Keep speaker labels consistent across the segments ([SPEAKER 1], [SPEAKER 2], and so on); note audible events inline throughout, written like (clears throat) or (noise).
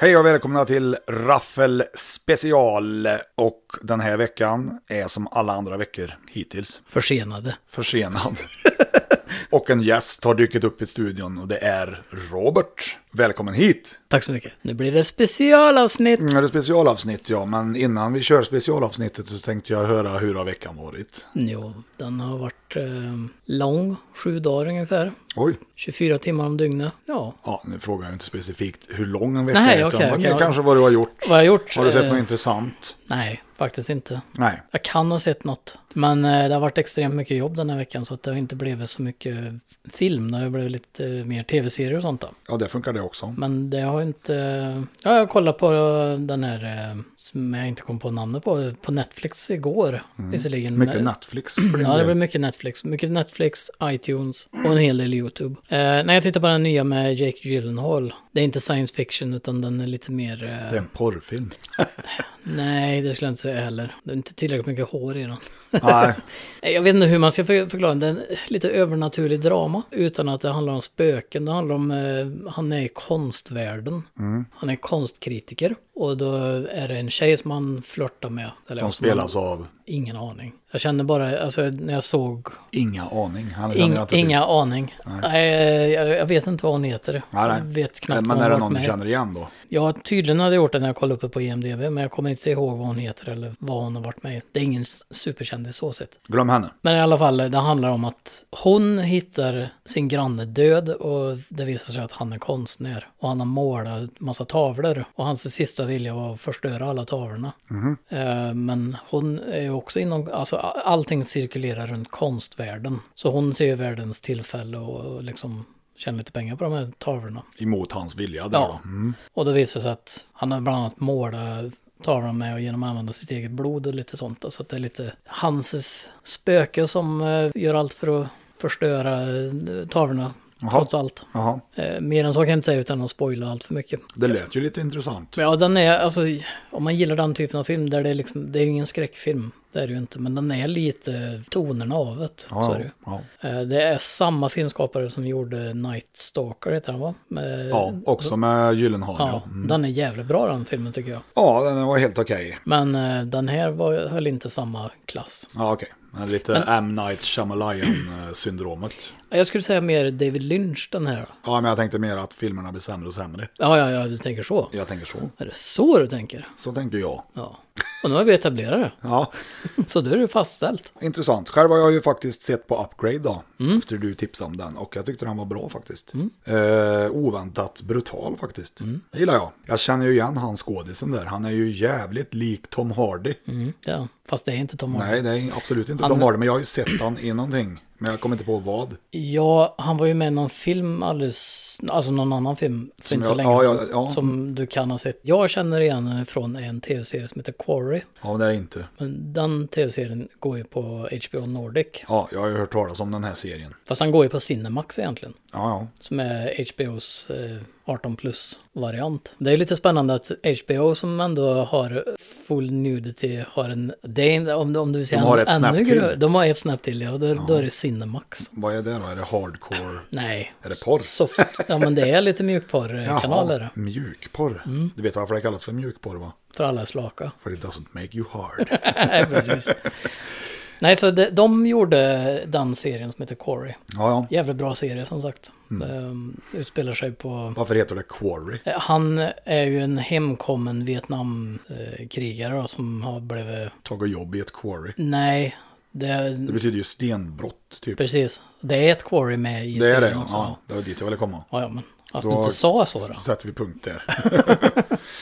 [SPEAKER 1] Hej och välkomna till Raffel special. Och den här veckan är som alla andra veckor hittills
[SPEAKER 2] Försenade.
[SPEAKER 1] försenad. (laughs) och en gäst har dykt upp i studion och det är Robert. Välkommen hit!
[SPEAKER 2] Tack så mycket. Nu blir det specialavsnitt.
[SPEAKER 1] Nu är det specialavsnitt ja, men innan vi kör specialavsnittet så tänkte jag höra hur har veckan varit?
[SPEAKER 2] Jo, den har varit eh, lång. Sju dagar ungefär.
[SPEAKER 1] Oj!
[SPEAKER 2] 24 timmar om dygnet. Ja.
[SPEAKER 1] Ja, nu frågar jag inte specifikt hur lång en vecka
[SPEAKER 2] Nej,
[SPEAKER 1] är,
[SPEAKER 2] okej,
[SPEAKER 1] utan
[SPEAKER 2] okej.
[SPEAKER 1] okay, kanske vad du har gjort.
[SPEAKER 2] Vad har jag gjort?
[SPEAKER 1] Har du sett
[SPEAKER 2] Eh,
[SPEAKER 1] något intressant?
[SPEAKER 2] Nej, faktiskt inte.
[SPEAKER 1] Nej.
[SPEAKER 2] Jag kan ha sett något. Men eh, det har varit extremt mycket jobb den här veckan så att det har inte blivit så mycket film. Det har blivit lite eh, mer tv-serier och sånt då.
[SPEAKER 1] Ja, det funkar det också.
[SPEAKER 2] Men det har inte... Ja, jag kollade på den här eh, som jag inte kom på namnet på, på Netflix igår. Visserligen.
[SPEAKER 1] Mm. Mycket
[SPEAKER 2] Men-
[SPEAKER 1] Netflix för din
[SPEAKER 2] Ja, det
[SPEAKER 1] del.
[SPEAKER 2] blir mycket Netflix. Mycket Netflix, iTunes och en hel del YouTube. Eh, när jag tittar på den nya med Jake Gyllenhaal. Det är inte science fiction utan den är lite mer... Eh,
[SPEAKER 1] Det är en porrfilm.
[SPEAKER 2] Nej, det skulle jag inte säga heller. Det är inte tillräckligt mycket hår i den.
[SPEAKER 1] Nej,
[SPEAKER 2] Nej, Jag vet inte hur man ska för- förklara den. Det är en lite övernaturlig drama. Utan att det handlar om spöken. Det handlar om... Eh, han är i konstvärlden.
[SPEAKER 1] Mm.
[SPEAKER 2] Han är konstkritiker. Och då är det en tjej som han flörtar med. Eller
[SPEAKER 1] som
[SPEAKER 2] han-
[SPEAKER 1] spelas av
[SPEAKER 2] Ingen aning. Jag kände bara, alltså när jag såg
[SPEAKER 1] Inga aning. Han känner
[SPEAKER 2] Ing,
[SPEAKER 1] Eh, jag inte till.
[SPEAKER 2] inga aning. Nej. jag, jag vet inte vad hon heter.
[SPEAKER 1] Nej, nej.
[SPEAKER 2] Jag vet knappt
[SPEAKER 1] Men
[SPEAKER 2] vad
[SPEAKER 1] är det
[SPEAKER 2] hon har
[SPEAKER 1] någon du
[SPEAKER 2] varit med. i.
[SPEAKER 1] känner igen då?
[SPEAKER 2] Ja, tydligen hade jag gjort det när jag kollade upp på IMDB, men jag kommer inte ihåg vad hon heter eller vad hon har varit med i. Det är ingen s- superkändis så sett.
[SPEAKER 1] Glöm henne.
[SPEAKER 2] Men i alla fall, det handlar om att hon hittar sin granne död och det visar sig att han är konstnär. Och han har målat massa tavlor. Och hans sista vilja var att förstöra alla tavlorna. Eh, Men hon är ju också inom, alltså a- allting cirkulerar runt konstvärlden. Så hon ser ju världens tillfälle och liksom tjänar lite pengar på de här tavlorna.
[SPEAKER 1] Emot hans vilja där
[SPEAKER 2] Ja.
[SPEAKER 1] då. Mm.
[SPEAKER 2] Och det visar sig att han har bland annat målat tavlan med och genom att använda sitt eget blod och lite sånt. Då. Så att det är lite Hanses spöke som eh, gör allt för att förstöra eh, tavlorna. Trots allt.
[SPEAKER 1] Jaha,
[SPEAKER 2] Eh, mer än så kan jag inte säga utan att spoila allt för mycket.
[SPEAKER 1] det lät ju lite intressant.
[SPEAKER 2] Men ja, den är, alltså, om man gillar den typen av film, där det är liksom, det är ju ingen skräckfilm. Det är det ju inte, men den är lite tonerna av det. så är det
[SPEAKER 1] Ja,
[SPEAKER 2] ju.
[SPEAKER 1] ja.
[SPEAKER 2] Eh, Det är samma filmskapare som gjorde Night Stalker, heter den va? Med,
[SPEAKER 1] ja också med Gyllenhaal.
[SPEAKER 2] Ja,
[SPEAKER 1] Ja. Mm.
[SPEAKER 2] den är jävligt bra den filmen tycker jag.
[SPEAKER 1] ja, den var helt okej.
[SPEAKER 2] Men eh, den här var, höll inte samma klass.
[SPEAKER 1] Ja, okej. Men Lite M. Night Shyamalan-syndromet.
[SPEAKER 2] Jag skulle säga mer David Lynch den här.
[SPEAKER 1] Ja, men jag tänkte mer att filmerna blir sämre och sämre.
[SPEAKER 2] Ja, ja, ja, du tänker så.
[SPEAKER 1] Jag tänker så.
[SPEAKER 2] Är det så du tänker?
[SPEAKER 1] Så tänker jag.
[SPEAKER 2] Ja. Och nu har vi etablerat det.
[SPEAKER 1] Ja,
[SPEAKER 2] Så då är det fastställt.
[SPEAKER 1] intressant. Själv har jag ju faktiskt sett på Upgrade då, efter du tipsade om den. Och jag tyckte den var bra faktiskt.
[SPEAKER 2] Mm.
[SPEAKER 1] Eh, oväntat brutal faktiskt. Det gillar jag. Jag känner ju igen han skådisen där. Han är ju jävligt lik Tom Hardy.
[SPEAKER 2] Mm, ja. Fast det är inte Tom Hardy.
[SPEAKER 1] Nej, det är absolut inte Tom Hardy, men jag har ju sett han i någonting. Men jag kommer inte på vad.
[SPEAKER 2] Ja, han var ju med i någon film alldeles, alltså någon annan film för inte så
[SPEAKER 1] jag-
[SPEAKER 2] länge
[SPEAKER 1] ja,
[SPEAKER 2] sedan.
[SPEAKER 1] ja, ja.
[SPEAKER 2] Som du kan ha sett. Jag känner igen henne från en tv-serie som heter Quarry.
[SPEAKER 1] Ja, men det är inte.
[SPEAKER 2] Men den tv-serien går ju på HBO Nordic.
[SPEAKER 1] Ja, jag har ju hört talas om den här serien.
[SPEAKER 2] Fast den går ju på Cinemax egentligen.
[SPEAKER 1] Ja, ja.
[SPEAKER 2] Som är HBOs eh, 18 plus-variant. Det är lite spännande att HBO som ändå har full nudity har en... Det är, en- om, om du säger
[SPEAKER 1] har ett snäpp till.
[SPEAKER 2] De har ett snäpp till, ja. Då, då är det Cinemax.
[SPEAKER 1] Vad är det då? Är det hardcore?
[SPEAKER 2] Nej.
[SPEAKER 1] Är det porr?
[SPEAKER 2] Soft. Ja, men det är lite mjukporrkanaler.
[SPEAKER 1] Jaha, mjukporr.
[SPEAKER 2] Mm.
[SPEAKER 1] Du vet varför det kallas för mjukporr va?
[SPEAKER 2] För alla är slaka. (laughs)
[SPEAKER 1] För it doesn't make you hard.
[SPEAKER 2] Nej, precis. Nej, så de, de gjorde den serien som heter Quarry.
[SPEAKER 1] Ja, ja.
[SPEAKER 2] Jävligt bra serie som sagt.
[SPEAKER 1] Mm.
[SPEAKER 2] Ehm, utspelar sig på...
[SPEAKER 1] Varför heter det Quarry?
[SPEAKER 2] Eh, Han är ju en hemkommen Vietnamkrigare då, som har blivit...
[SPEAKER 1] Tagit jobb i ett quarry.
[SPEAKER 2] Nej, det,
[SPEAKER 1] Det betyder ju stenbrott, typ.
[SPEAKER 2] precis. Det är ett quarry med i
[SPEAKER 1] Det är
[SPEAKER 2] serien
[SPEAKER 1] det,
[SPEAKER 2] också.
[SPEAKER 1] ja. Det var dit jag ville komma.
[SPEAKER 2] Ja, ja, men att
[SPEAKER 1] Då-
[SPEAKER 2] du inte sa så då.
[SPEAKER 1] Så sätter vi punkt där.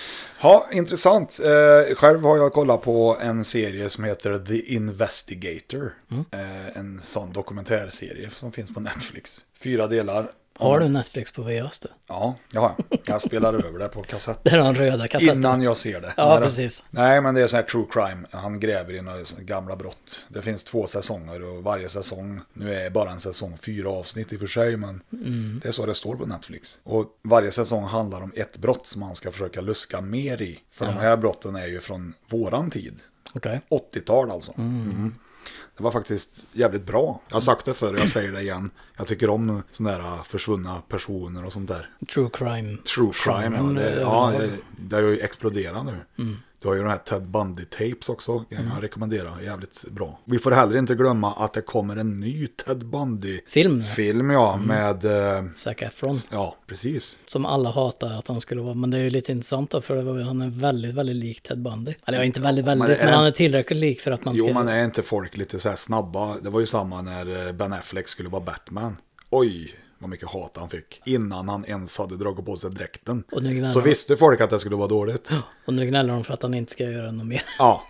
[SPEAKER 1] (laughs) ja, intressant. Eh, själv har jag kollat på en serie som heter The Investigator. Eh, en sån dokumentärserie som finns på Netflix. Fyra delar.
[SPEAKER 2] Har du Netflix på VHS du?
[SPEAKER 1] Ja, det har jag. Jag spelar över det på kassett.
[SPEAKER 2] Det är den röda kassetten.
[SPEAKER 1] Innan jag ser det.
[SPEAKER 2] Ja,
[SPEAKER 1] Nej,
[SPEAKER 2] precis.
[SPEAKER 1] Nej, men det är sån här true crime. Han gräver i några såna gamla brott. Det finns två säsonger och varje säsong, nu är bara en säsong fyra avsnitt i och för sig, men det är så det står på Netflix. Och varje säsong handlar om ett brott som man ska försöka luska mer i. För de här brotten är ju från våran tid.
[SPEAKER 2] Okej.
[SPEAKER 1] 80-tal alltså. Mm. Det var faktiskt jävligt bra. Jag har sagt det förr, jag säger det igen. Jag tycker om sådana där äh, försvunna personer och sånt där.
[SPEAKER 2] True crime.
[SPEAKER 1] True crime, ja.
[SPEAKER 2] Genren,
[SPEAKER 1] Det,
[SPEAKER 2] eh,
[SPEAKER 1] ja,
[SPEAKER 2] har- Mm.
[SPEAKER 1] det, det har ju exploderat nu. Du har ju de här Ted Bundy-tapes också, kan jag rekommendera. Jävligt bra. Vi får heller inte glömma att det kommer en ny Ted Bundy-film,
[SPEAKER 2] Film.
[SPEAKER 1] ja,
[SPEAKER 2] Mm.
[SPEAKER 1] med... eh,
[SPEAKER 2] Zac Efron.
[SPEAKER 1] Ja, precis.
[SPEAKER 2] Som alla hatar att han skulle vara. Men det är ju lite intressant då, för det var, ju- han är väldigt, väldigt lik Ted Bundy. Eller ja, inte väldigt, väldigt,
[SPEAKER 1] är
[SPEAKER 2] men,
[SPEAKER 1] det-
[SPEAKER 2] han är tillräckligt lik för att man ska...
[SPEAKER 1] Jo, men är inte folk lite så här snabba? Det var ju samma när eh, Ben Affleck skulle vara Batman. Oj, vad mycket hat han fick. Innan han ens hade dragit på sig dräkten.
[SPEAKER 2] Och nu gnäller
[SPEAKER 1] Så
[SPEAKER 2] han.
[SPEAKER 1] visste folk att det skulle vara dåligt.
[SPEAKER 2] Och nu gnäller de för att han inte ska göra något mer. (laughs)
[SPEAKER 1] Ja,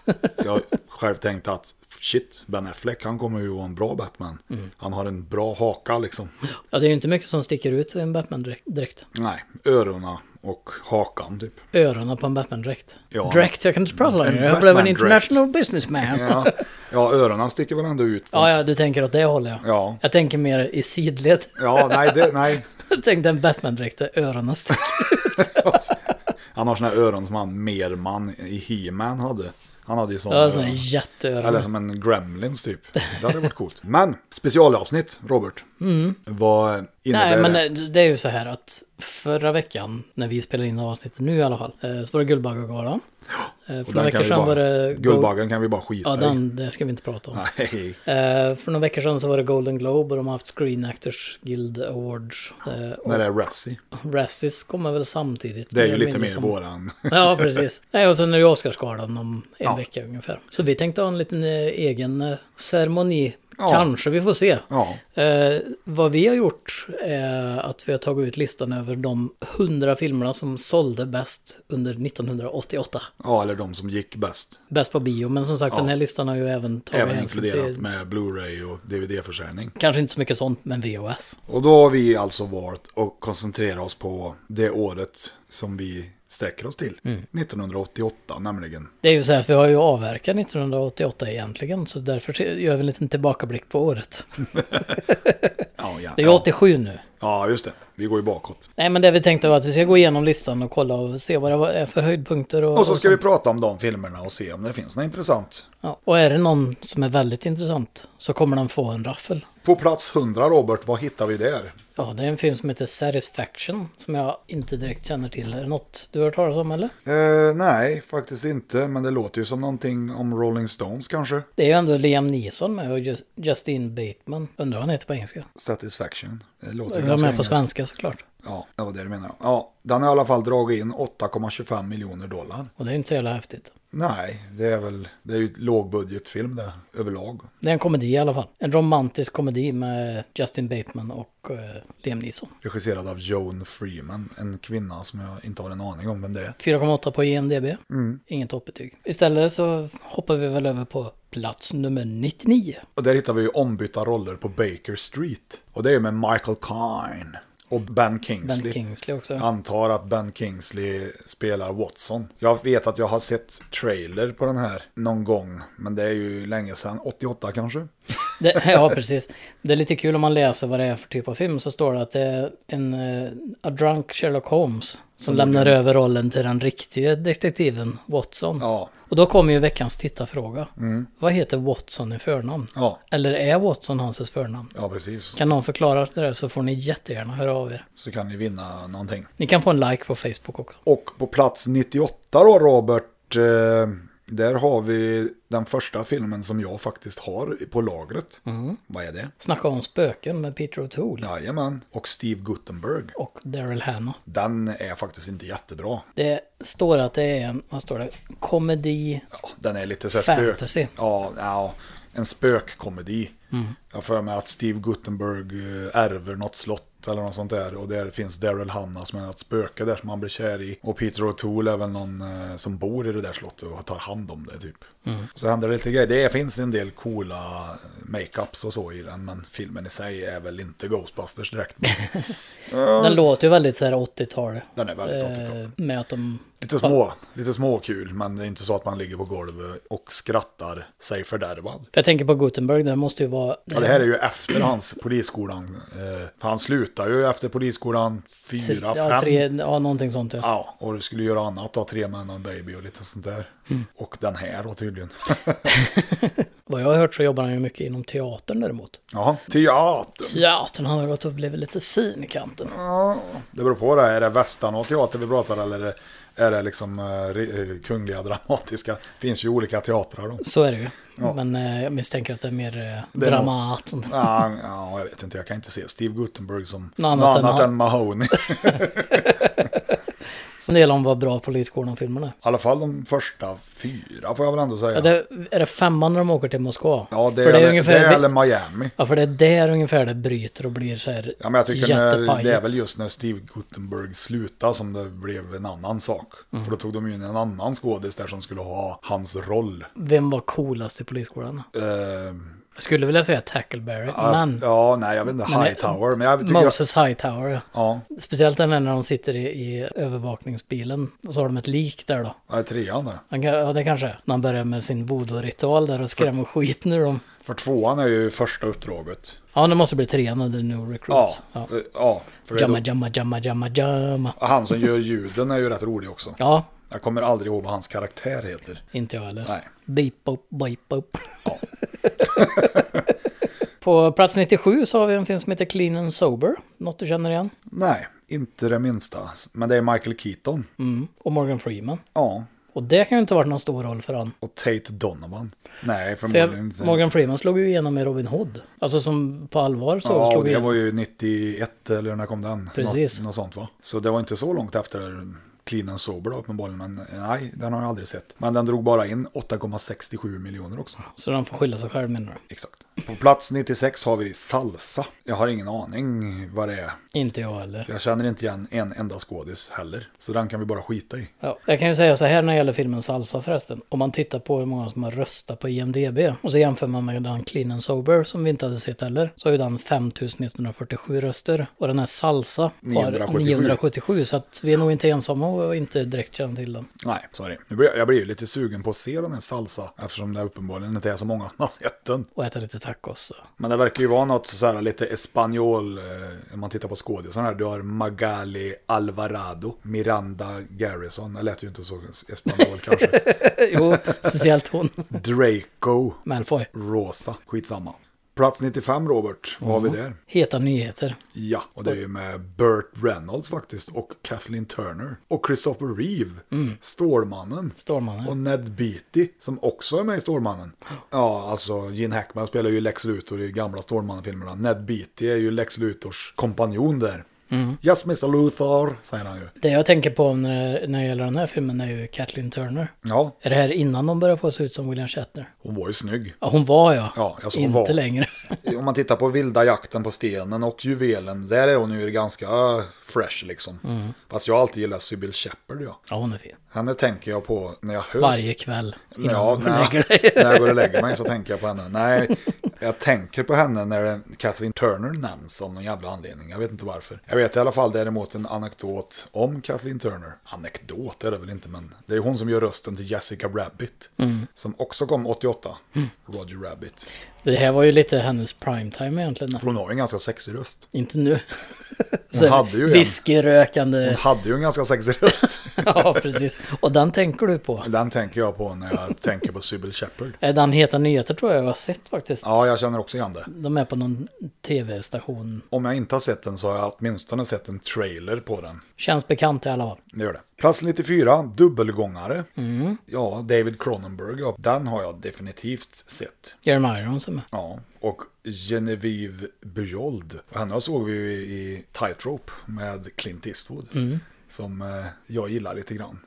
[SPEAKER 1] jag själv tänkte att shit, Ben Affleck, han kommer ju vara en bra Batman.
[SPEAKER 2] Mm.
[SPEAKER 1] Han har en bra haka liksom.
[SPEAKER 2] Ja, det är ju inte mycket som sticker ut i en Batman-dräkt.
[SPEAKER 1] Nej, öronen och hakan typ.
[SPEAKER 2] Öronen på en Batman-dräkt.
[SPEAKER 1] Ja.
[SPEAKER 2] Dräkt, jag kan inte prata
[SPEAKER 1] En
[SPEAKER 2] längre. Jag blev en
[SPEAKER 1] Batman-dräkt.
[SPEAKER 2] international businessman. Ja.
[SPEAKER 1] Ja, ja öronen sticker väl ändå ut.
[SPEAKER 2] ja, du tänker åt det hållet ja.
[SPEAKER 1] Ja,
[SPEAKER 2] Jag tänker mer i sidled. (laughs)
[SPEAKER 1] ja nej, det, nej.
[SPEAKER 2] Jag tänkte en Batman-dräkt där öronen sticker.
[SPEAKER 1] Han har såna här öron som han Merman i He-Man hade. Han hade ju sådana.
[SPEAKER 2] Ja, sådana
[SPEAKER 1] öron.
[SPEAKER 2] jätteöron.
[SPEAKER 1] Eller som en Gremlins typ. Det hade varit coolt. Men specialavsnitt, Robert. Vad innebär
[SPEAKER 2] Mm. Nej, men eh,
[SPEAKER 1] det?
[SPEAKER 2] det- det är ju så här att förra veckan, när vi spelade in avsnittet nu i alla fall, eh, så var det Guldbaggegalan. Eh, För
[SPEAKER 1] Och
[SPEAKER 2] några
[SPEAKER 1] den kan
[SPEAKER 2] veckor
[SPEAKER 1] vi
[SPEAKER 2] sedan var
[SPEAKER 1] bara,
[SPEAKER 2] det...
[SPEAKER 1] Guldbaggen kan vi bara skita
[SPEAKER 2] Ja,
[SPEAKER 1] i.
[SPEAKER 2] den, det ska vi inte prata om.
[SPEAKER 1] Nej.
[SPEAKER 2] Eh, För några veckor sedan så var det Golden Globe och de har haft Screen Actors Guild Awards. Eh,
[SPEAKER 1] När det är Razzie.
[SPEAKER 2] Och Razzies kommer väl samtidigt.
[SPEAKER 1] Det är
[SPEAKER 2] mer
[SPEAKER 1] ju
[SPEAKER 2] eller
[SPEAKER 1] lite
[SPEAKER 2] mindre
[SPEAKER 1] mer våran.
[SPEAKER 2] (laughs) Ja, precis. Nej, och sen är det Oscarsgalan om en
[SPEAKER 1] Ja.
[SPEAKER 2] vecka ungefär. Så vi tänkte ha en liten eh, egen eh, ceremoni.
[SPEAKER 1] Ja.
[SPEAKER 2] Kanske, vi får se.
[SPEAKER 1] Ja,
[SPEAKER 2] Eh, vad vi har gjort är att vi har tagit ut listan över de 100 filmerna som sålde bäst under 1988.
[SPEAKER 1] ja, eller de som gick bäst.
[SPEAKER 2] Bäst på bio, men som sagt
[SPEAKER 1] Ja.
[SPEAKER 2] den här listan har ju även tagit
[SPEAKER 1] Även
[SPEAKER 2] hänsyn
[SPEAKER 1] inkluderat
[SPEAKER 2] till...
[SPEAKER 1] med Blu-ray och DVD-försäljning.
[SPEAKER 2] Kanske inte så mycket sånt, men VHS.
[SPEAKER 1] Och då har vi alltså valt att koncentrera oss på det året som vi sträcker oss till.
[SPEAKER 2] Mm.
[SPEAKER 1] 1988 nämligen.
[SPEAKER 2] Det är ju så här att vi har ju avverkat 1988 egentligen, så därför te- gör vi en liten tillbakablick på året.
[SPEAKER 1] Ja, ja,
[SPEAKER 2] Det är ju 87 nu.
[SPEAKER 1] ja, just det. Vi går ju bakåt.
[SPEAKER 2] Nej, men det vi tänkte var att vi ska gå igenom listan och kolla och se vad det är för höjdpunkter. Och,
[SPEAKER 1] Och så ska
[SPEAKER 2] och
[SPEAKER 1] vi
[SPEAKER 2] sånt.
[SPEAKER 1] prata om de filmerna och se om det finns något intressant.
[SPEAKER 2] Ja. Och är det någon som är väldigt intressant så kommer den få en raffel.
[SPEAKER 1] På plats 100 Robert, vad hittar vi där?
[SPEAKER 2] Ja, det är en film som heter Satisfaction som jag inte direkt känner till. Är det något du har hört talas om eller?
[SPEAKER 1] Eh, nej, faktiskt inte. Men det låter ju som någonting om Rolling Stones kanske.
[SPEAKER 2] Det är ju ändå Liam Neeson med och Just, Justin Bateman. Undrar vad han heter på engelska.
[SPEAKER 1] Satisfaction. Det låter ju
[SPEAKER 2] Jag var
[SPEAKER 1] ganska
[SPEAKER 2] med på
[SPEAKER 1] engelskt.
[SPEAKER 2] svenska såklart.
[SPEAKER 1] Ja, det var det du menade. Ja, den har i alla fall dragit in 8,25 miljoner dollar.
[SPEAKER 2] Och det är ju inte så jävla häftigt.
[SPEAKER 1] Nej, det är väl, det är ju ett lågbudgetfilm det, överlag.
[SPEAKER 2] Det är en komedi i alla fall. En romantisk komedi med Justin Bateman och eh, Liam Neeson.
[SPEAKER 1] Regisserad av Joan Freeman, en kvinna som jag inte har en aning om vem det är.
[SPEAKER 2] 4,8 på IMDB. Inget toppbetyg. Istället så hoppar vi väl över på plats nummer 99.
[SPEAKER 1] Och där hittar vi ju ombytta roller på Baker Street. Och det är ju med Michael Caine och Ben Kingsley.
[SPEAKER 2] Ben Kingsley också.
[SPEAKER 1] Antar att Ben Kingsley spelar Watson. Jag vet att jag har sett trailer på den här någon gång, men det är ju länge sedan, 88 kanske?
[SPEAKER 2] Det, (laughs) ja, precis. Det är lite kul om man läser vad det är för typ av film så står det att det är en eh, A Drunk Sherlock Holmes som, lämnar över rollen till den riktiga detektiven Watson.
[SPEAKER 1] Ja,
[SPEAKER 2] Och då kommer ju veckans tittarfråga. Vad heter Watson i förnamn?
[SPEAKER 1] ja,
[SPEAKER 2] Eller är Watson hans förnamn?
[SPEAKER 1] ja precis.
[SPEAKER 2] Kan någon förklara det där så får ni jättegärna höra av er.
[SPEAKER 1] Så kan ni vinna någonting.
[SPEAKER 2] Ni kan få en like på Facebook också.
[SPEAKER 1] Och på plats 98 då Robert, eh, där har vi den första filmen som jag faktiskt har på lagret. Vad är det?
[SPEAKER 2] Snacka om spöken med Peter O'Toole
[SPEAKER 1] Jajamän, och Steve Guttenberg.
[SPEAKER 2] och Daryl Hannah.
[SPEAKER 1] Den är faktiskt inte jättebra.
[SPEAKER 2] Det står att det är en, vad står det, komedi,
[SPEAKER 1] Ja, den är lite så här spök...
[SPEAKER 2] Fantasy.
[SPEAKER 1] Ja, ja, en spökkomedi. Jag får med att Steve Guttenberg eh, ärver något slott eller något sånt där. Och där finns Daryl Hannah som är något spöke där som han blir kär i. Och Peter O'Toole är väl någon eh, som bor i det där slottet och tar hand om det typ. Så händer det lite grejer. Det finns en del coola eh, makeups och så i den. Men filmen i sig är väl inte Ghostbusters direkt. Men
[SPEAKER 2] den låter ju väldigt så här 80-tal.
[SPEAKER 1] den är väldigt 80-tal.
[SPEAKER 2] Eh, med att de...
[SPEAKER 1] Lite små, lite små kul, men det är inte så att man ligger på golvet och skrattar sig fördärvad.
[SPEAKER 2] För jag tänker på Gutenberg, det måste ju vara...
[SPEAKER 1] Ja, det här är ju efter hans polisskolan. Eh, för han slut, slutade ju efter polisskolan fyra,
[SPEAKER 2] ja,
[SPEAKER 1] fem.
[SPEAKER 2] tre, ja, någonting sånt. Ja.
[SPEAKER 1] Ja, och du skulle göra annat då, tre män och en baby och lite sånt där.
[SPEAKER 2] Mm.
[SPEAKER 1] Och den här då tydligen. (laughs)
[SPEAKER 2] Vad jag har hört så jobbar han ju mycket inom teatern däremot.
[SPEAKER 1] ja, teater.
[SPEAKER 2] Teatern har ju gått och blivit lite fin i kanten.
[SPEAKER 1] Ja, det beror på det. Är det Västanå teater vi pratar eller är det, är det liksom eh, ri- eh, Kungliga Dramatiska? finns ju olika teatrar då.
[SPEAKER 2] Så är det ju.
[SPEAKER 1] Ja.
[SPEAKER 2] Men eh, jag misstänker att det är mer eh,
[SPEAKER 1] Det är
[SPEAKER 2] Dramaten.
[SPEAKER 1] Ja, ja, jag vet inte. Jag kan inte se Steve Guttenberg som
[SPEAKER 2] Något
[SPEAKER 1] något
[SPEAKER 2] annat
[SPEAKER 1] annat,
[SPEAKER 2] än han.
[SPEAKER 1] än Mahoney. I
[SPEAKER 2] Så en del om vad bra Polisskolan-filmerna är.
[SPEAKER 1] alla fall de första fyra får jag väl ändå säga.
[SPEAKER 2] Ja.
[SPEAKER 1] Ja, det,
[SPEAKER 2] Det, är det femman när de åker till Moskva?
[SPEAKER 1] är,
[SPEAKER 2] för det är
[SPEAKER 1] eller-
[SPEAKER 2] ungefär
[SPEAKER 1] det
[SPEAKER 2] det-
[SPEAKER 1] är eller Miami.
[SPEAKER 2] Ja, för det är där ungefär det bryter och blir så här
[SPEAKER 1] Ja, men jag tycker när, det är
[SPEAKER 2] jättepajigt.
[SPEAKER 1] väl just när Steve Guttenberg slutade som det blev en annan sak.
[SPEAKER 2] Mm.
[SPEAKER 1] För då tog de ju in en annan skådis där som skulle ha hans roll.
[SPEAKER 2] Vem var coolast i Polisskolan?
[SPEAKER 1] Eh,
[SPEAKER 2] Jag skulle vilja säga Tackleberry, men
[SPEAKER 1] ja, nej, jag vet inte.
[SPEAKER 2] Men-
[SPEAKER 1] Hightower. Men jag tycker... Jag,
[SPEAKER 2] Moses Hightower. ja.
[SPEAKER 1] ja,
[SPEAKER 2] Speciellt den här när de sitter i, i övervakningsbilen och så har de ett lik där då.
[SPEAKER 1] vad är trean där?
[SPEAKER 2] Han, kan- ja, det kanske är. När han börjar med sin voodoo-ritual där och skrämmer skiten ur dem.
[SPEAKER 1] För tvåan är ju första uppdraget.
[SPEAKER 2] Ja, det måste bli trean under New
[SPEAKER 1] Ja,
[SPEAKER 2] Recruits.
[SPEAKER 1] ja.
[SPEAKER 2] Ja.
[SPEAKER 1] ja för det är
[SPEAKER 2] Jamma,
[SPEAKER 1] då,
[SPEAKER 2] jamma, jamma, jamma, jamma.
[SPEAKER 1] han som gör ljuden är ju rätt rolig också.
[SPEAKER 2] Ja,
[SPEAKER 1] Jag kommer aldrig ihåg vad hans karaktär heter.
[SPEAKER 2] inte jag heller.
[SPEAKER 1] Nej.
[SPEAKER 2] Beep up, beep up.
[SPEAKER 1] Ja.
[SPEAKER 2] (laughs) På plats 97 så har vi en film som heter Clean and Sober. Något du känner igen.
[SPEAKER 1] Nej, inte det minsta. Men det är Michael Keaton.
[SPEAKER 2] Mm. Och Morgan Freeman.
[SPEAKER 1] Ja,
[SPEAKER 2] Och det kan ju inte ha varit någon stor roll för han.
[SPEAKER 1] och Tate Donovan. Nej,
[SPEAKER 2] För
[SPEAKER 1] förmodligen
[SPEAKER 2] jag,
[SPEAKER 1] inte.
[SPEAKER 2] Morgan Freeman slog ju igenom i Robin Hood. Alltså som på allvar så
[SPEAKER 1] Ja,
[SPEAKER 2] slog
[SPEAKER 1] och det
[SPEAKER 2] igenom.
[SPEAKER 1] var ju 91 eller när kom den?
[SPEAKER 2] Precis.
[SPEAKER 1] Nå- Något sånt va? Så det var inte så långt efter Clean and Sober då, uppenbarligen. Men eh, nej, den har jag aldrig sett. Men den drog bara in 8,67 miljoner också.
[SPEAKER 2] Så de får skylla sig själv menar du?
[SPEAKER 1] Exakt. På plats 96 har vi Salsa. Jag har ingen aning vad det är.
[SPEAKER 2] Inte jag heller.
[SPEAKER 1] Jag känner inte igen en enda skådis heller. Så den kan vi bara skita i.
[SPEAKER 2] Ja, jag kan ju säga så här när det gäller filmen Salsa förresten. Om man tittar på hur många som har röstat på IMDB och så jämför man med den Clean and Sober som vi inte hade sett heller. Så har ju den 5147 röster och den här Salsa har
[SPEAKER 1] 977.
[SPEAKER 2] 977. Så att vi är nog inte ensamma och inte direkt känner till den.
[SPEAKER 1] Nej, sorry. Nu blir jag, jag blir ju lite sugen på att se den här Salsa. Eftersom det uppenbarligen inte är så många som har sett den.
[SPEAKER 2] Och äta lite tacos. så.
[SPEAKER 1] Men det verkar ju vara något så här lite espanjol, eh, om man tittar på skådisarna här. Du har Magali Alvarado, Miranda Garrison, det lät ju inte så espanjol kanske.
[SPEAKER 2] (laughs) jo, speciellt hon.
[SPEAKER 1] Draco,
[SPEAKER 2] Malfoy.
[SPEAKER 1] Rosa, skitsamma. Plats 95 Robert, vad har vi där?
[SPEAKER 2] Heta nyheter.
[SPEAKER 1] Ja, och det är ju med Burt Reynolds faktiskt och Kathleen Turner och Christopher Reeve, Stålmannen.
[SPEAKER 2] Stormarna.
[SPEAKER 1] Och Ned Beatty, som också är med i Stålmannen. Ja, alltså Gene Hackman spelar ju Lex Luthor i gamla Stålmannen-filmerna. Ned Beatty är ju Lex Luthors kompanjon där. Yes, Mr Luthor, säger han ju.
[SPEAKER 2] Det jag tänker på när, när det gäller den här filmen är ju Kathleen Turner.
[SPEAKER 1] Ja,
[SPEAKER 2] Är det här innan de börjar på att se ut som William Shatner?
[SPEAKER 1] hon var ju snygg.
[SPEAKER 2] Ja, hon var ja.
[SPEAKER 1] Ja, alltså hon
[SPEAKER 2] Inte
[SPEAKER 1] var.
[SPEAKER 2] längre. (laughs)
[SPEAKER 1] Om man tittar på vilda jakten på stenen och juvelen, där är hon ju ganska eh, fresh liksom. Fast jag har alltid gillat Sybil Shepherd, ja.
[SPEAKER 2] Ja, hon är fin.
[SPEAKER 1] Henne tänker jag på när jag hör
[SPEAKER 2] Varje kväll. Innan
[SPEAKER 1] Ja,
[SPEAKER 2] hon lägger
[SPEAKER 1] nej, (laughs)
[SPEAKER 2] dig.
[SPEAKER 1] när jag går och lägger mig så tänker jag på henne. Nej, jag tänker på henne när det- Kathleen Turner nämns om någon jävla anledning. Jag vet inte varför. Jag vet i alla fall däremot en anekdot om Kathleen Turner. Anekdot är det väl inte, men det är hon som gör rösten till Jessica Rabbit. Som också kom 88, Roger Rabbit.
[SPEAKER 2] Det här var ju lite hennes primetime egentligen.
[SPEAKER 1] För hon har ju en ganska sexig röst.
[SPEAKER 2] Inte nu.
[SPEAKER 1] Hon hade
[SPEAKER 2] (laughs)
[SPEAKER 1] ju en. (laughs) Hon
[SPEAKER 2] Whiskyrökande.
[SPEAKER 1] hade ju en ganska sexig röst.
[SPEAKER 2] ja, precis. Och den tänker du på.
[SPEAKER 1] Den tänker jag på när jag tänker på Sybil Shepherd.
[SPEAKER 2] Eh, Den Heta Nyheter tror jag jag har sett faktiskt.
[SPEAKER 1] Ja, jag känner också igen det.
[SPEAKER 2] De är på någon tv-station.
[SPEAKER 1] Om jag inte har sett den så har jag åtminstone sett en trailer på den.
[SPEAKER 2] Känns bekant i alla fall.
[SPEAKER 1] Det gör det. Plats 94, dubbelgångare. Ja, David Cronenberg, ja, den har jag definitivt sett.
[SPEAKER 2] Jeremy Irons är med.
[SPEAKER 1] Ja, och Genevieve Bujold. Och Henne såg vi ju i- i Tightrope med Clint Eastwood. Som eh, jag gillar lite grann.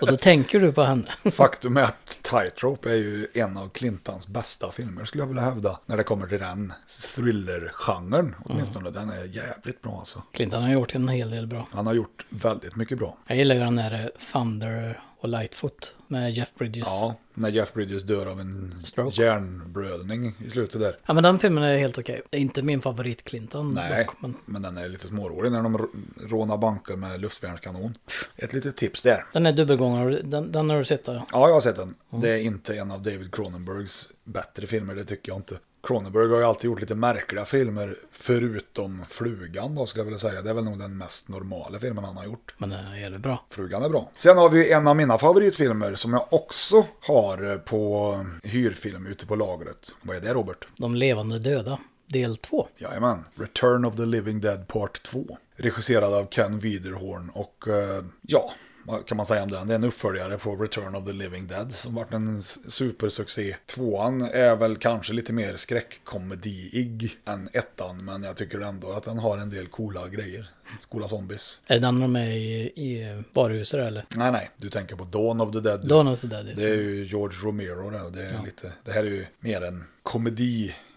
[SPEAKER 2] Och då tänker du på henne. (laughs)
[SPEAKER 1] Faktum är att Tightrope är ju en av Clintans bästa filmer skulle jag vilja hävda. När det kommer till den thriller-genren åtminstone. Den är jävligt bra alltså.
[SPEAKER 2] Clinton har gjort en hel del bra.
[SPEAKER 1] Han har gjort väldigt mycket bra.
[SPEAKER 2] Jag gillar ju den här Thunder och Lightfoot med Jeff Bridges. Ja.
[SPEAKER 1] Ja, när Jeff Bridges dör av en
[SPEAKER 2] Stroke.
[SPEAKER 1] hjärnblödning i slutet där.
[SPEAKER 2] men den filmen är helt okej. Det är inte min favorit Clinton
[SPEAKER 1] Nej,
[SPEAKER 2] dock. Men
[SPEAKER 1] men den är lite smårolig när de r- rånar banker med luftvärnskanon. Ett litet tips där.
[SPEAKER 2] den är dubbelgångare, den, den har du sett där. Mm.
[SPEAKER 1] Ja, jag har sett den. Det är inte en av David Cronenbergs bättre filmer, det tycker jag inte. Cronenberg har ju alltid gjort lite märkliga filmer, förutom Flugan då skulle jag vilja säga. Det är väl nog den mest normala filmen han har gjort.
[SPEAKER 2] Men den är jävligt bra.
[SPEAKER 1] Frugan är bra. Sen har vi en av mina favoritfilmer som jag också har på hyrfilm ute på lagret. Vad är det Robert?
[SPEAKER 2] De levande döda, del två.
[SPEAKER 1] Jajamän. Return of the Living Dead Part 2. Regisserad av Ken Widerhorn och eh, ja, vad kan man säga om den? Det är en uppföljare på Return of the Living Dead som varit en s- supersuccé. Tvåan är väl kanske lite mer skräckkomediig än ettan men jag tycker ändå att den har en del coola grejer. Coola zombies.
[SPEAKER 2] Är det den de är i, i varuhuset eller?
[SPEAKER 1] Nej, nej, du tänker på Dawn of the Dead. du.
[SPEAKER 2] Dawn of the Dead.
[SPEAKER 1] Det är ju George Romero det, och det, är lite, det här är ju mer en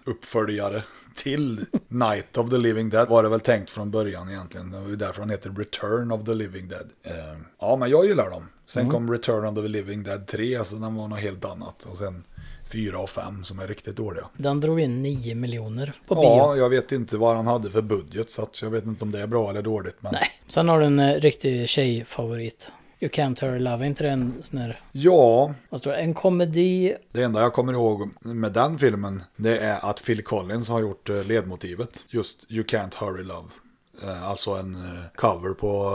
[SPEAKER 1] komediuppföljare till Night of the Living Dead var det väl tänkt från början egentligen. Det var ju därför han heter Return of the Living Dead. Eh, ja, men jag gillar dem. Sen
[SPEAKER 2] Mm.
[SPEAKER 1] kom Return of the Living Dead 3, alltså den var något helt annat. Och sen 4 och 5 som är riktigt dåliga.
[SPEAKER 2] Den drog in 9 miljoner på bio.
[SPEAKER 1] Ja, jag vet inte vad han hade för budget, så att jag vet inte om det är bra eller dåligt. Men...
[SPEAKER 2] Nej. Sen har du en eh, riktig tjejfavorit. You can't hurry love, Är inte det en sån här,
[SPEAKER 1] Ja,
[SPEAKER 2] vad står det? En komedi.
[SPEAKER 1] Det enda jag kommer ihåg med den filmen det är att Phil Collins har gjort eh, ledmotivet. Just You Can't Hurry Love. Eh, Alltså en eh, cover på